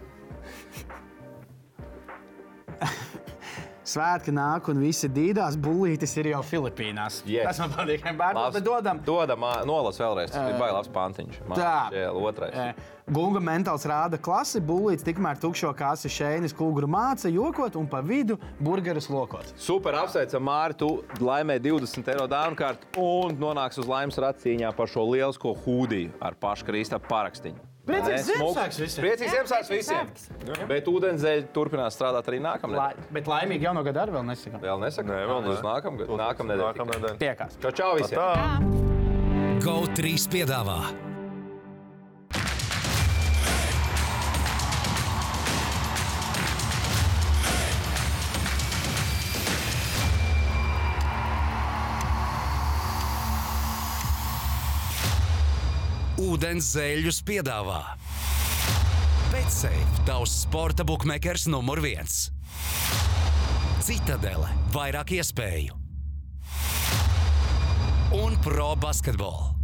S2: Svētki nāk, un visi dīdās. Bulītis ir jau Filipīnās.
S3: Yes.
S2: Tas man patīk. Bērns, bet dodam. Eh,
S3: Dodam, ā, nolas vēlreiz. Tas bija bailāts pantiņš.
S2: tā.
S3: Džēl, otrais.
S2: Eh, Gunga mentāls rāda klasi, būlīts tikmēr tukšo kāsi šeinis, kūgru māca, jokot un pa vidu burgerus lokot.
S3: Super apsveicam, Mārtiņ, tu laimē 20 eiro dāvanu kārtu un nonāks uz laimes racīņā par šo lielisko hūdiju ar paškrīsta parakstu.
S2: Priecīgs Ziemassvētks visiem!
S3: Priecīgs
S6: Jā,
S3: Ziemassvētks
S6: priecīgs
S3: visiem! Bet ūdenzēļ turpinās strādāt arī
S2: Lai,
S3: nākamnedēļ.
S2: bet laimīgi jau no gada arī vēl nesakām.
S3: Vēl nesaka,
S4: Nē, vēl
S3: uz nākamgad. Nākamnedēļ. tikai.
S4: Nākamnedēļ.
S2: Tiekās!
S3: Čau, čau visiem!
S4: Tā.
S1: GO3 piedāvā Ūdens zēļus piedāvā Betsafe, tavs sporta buklets numur viens. Citadele, vairāk iespēju un pro basketbolu.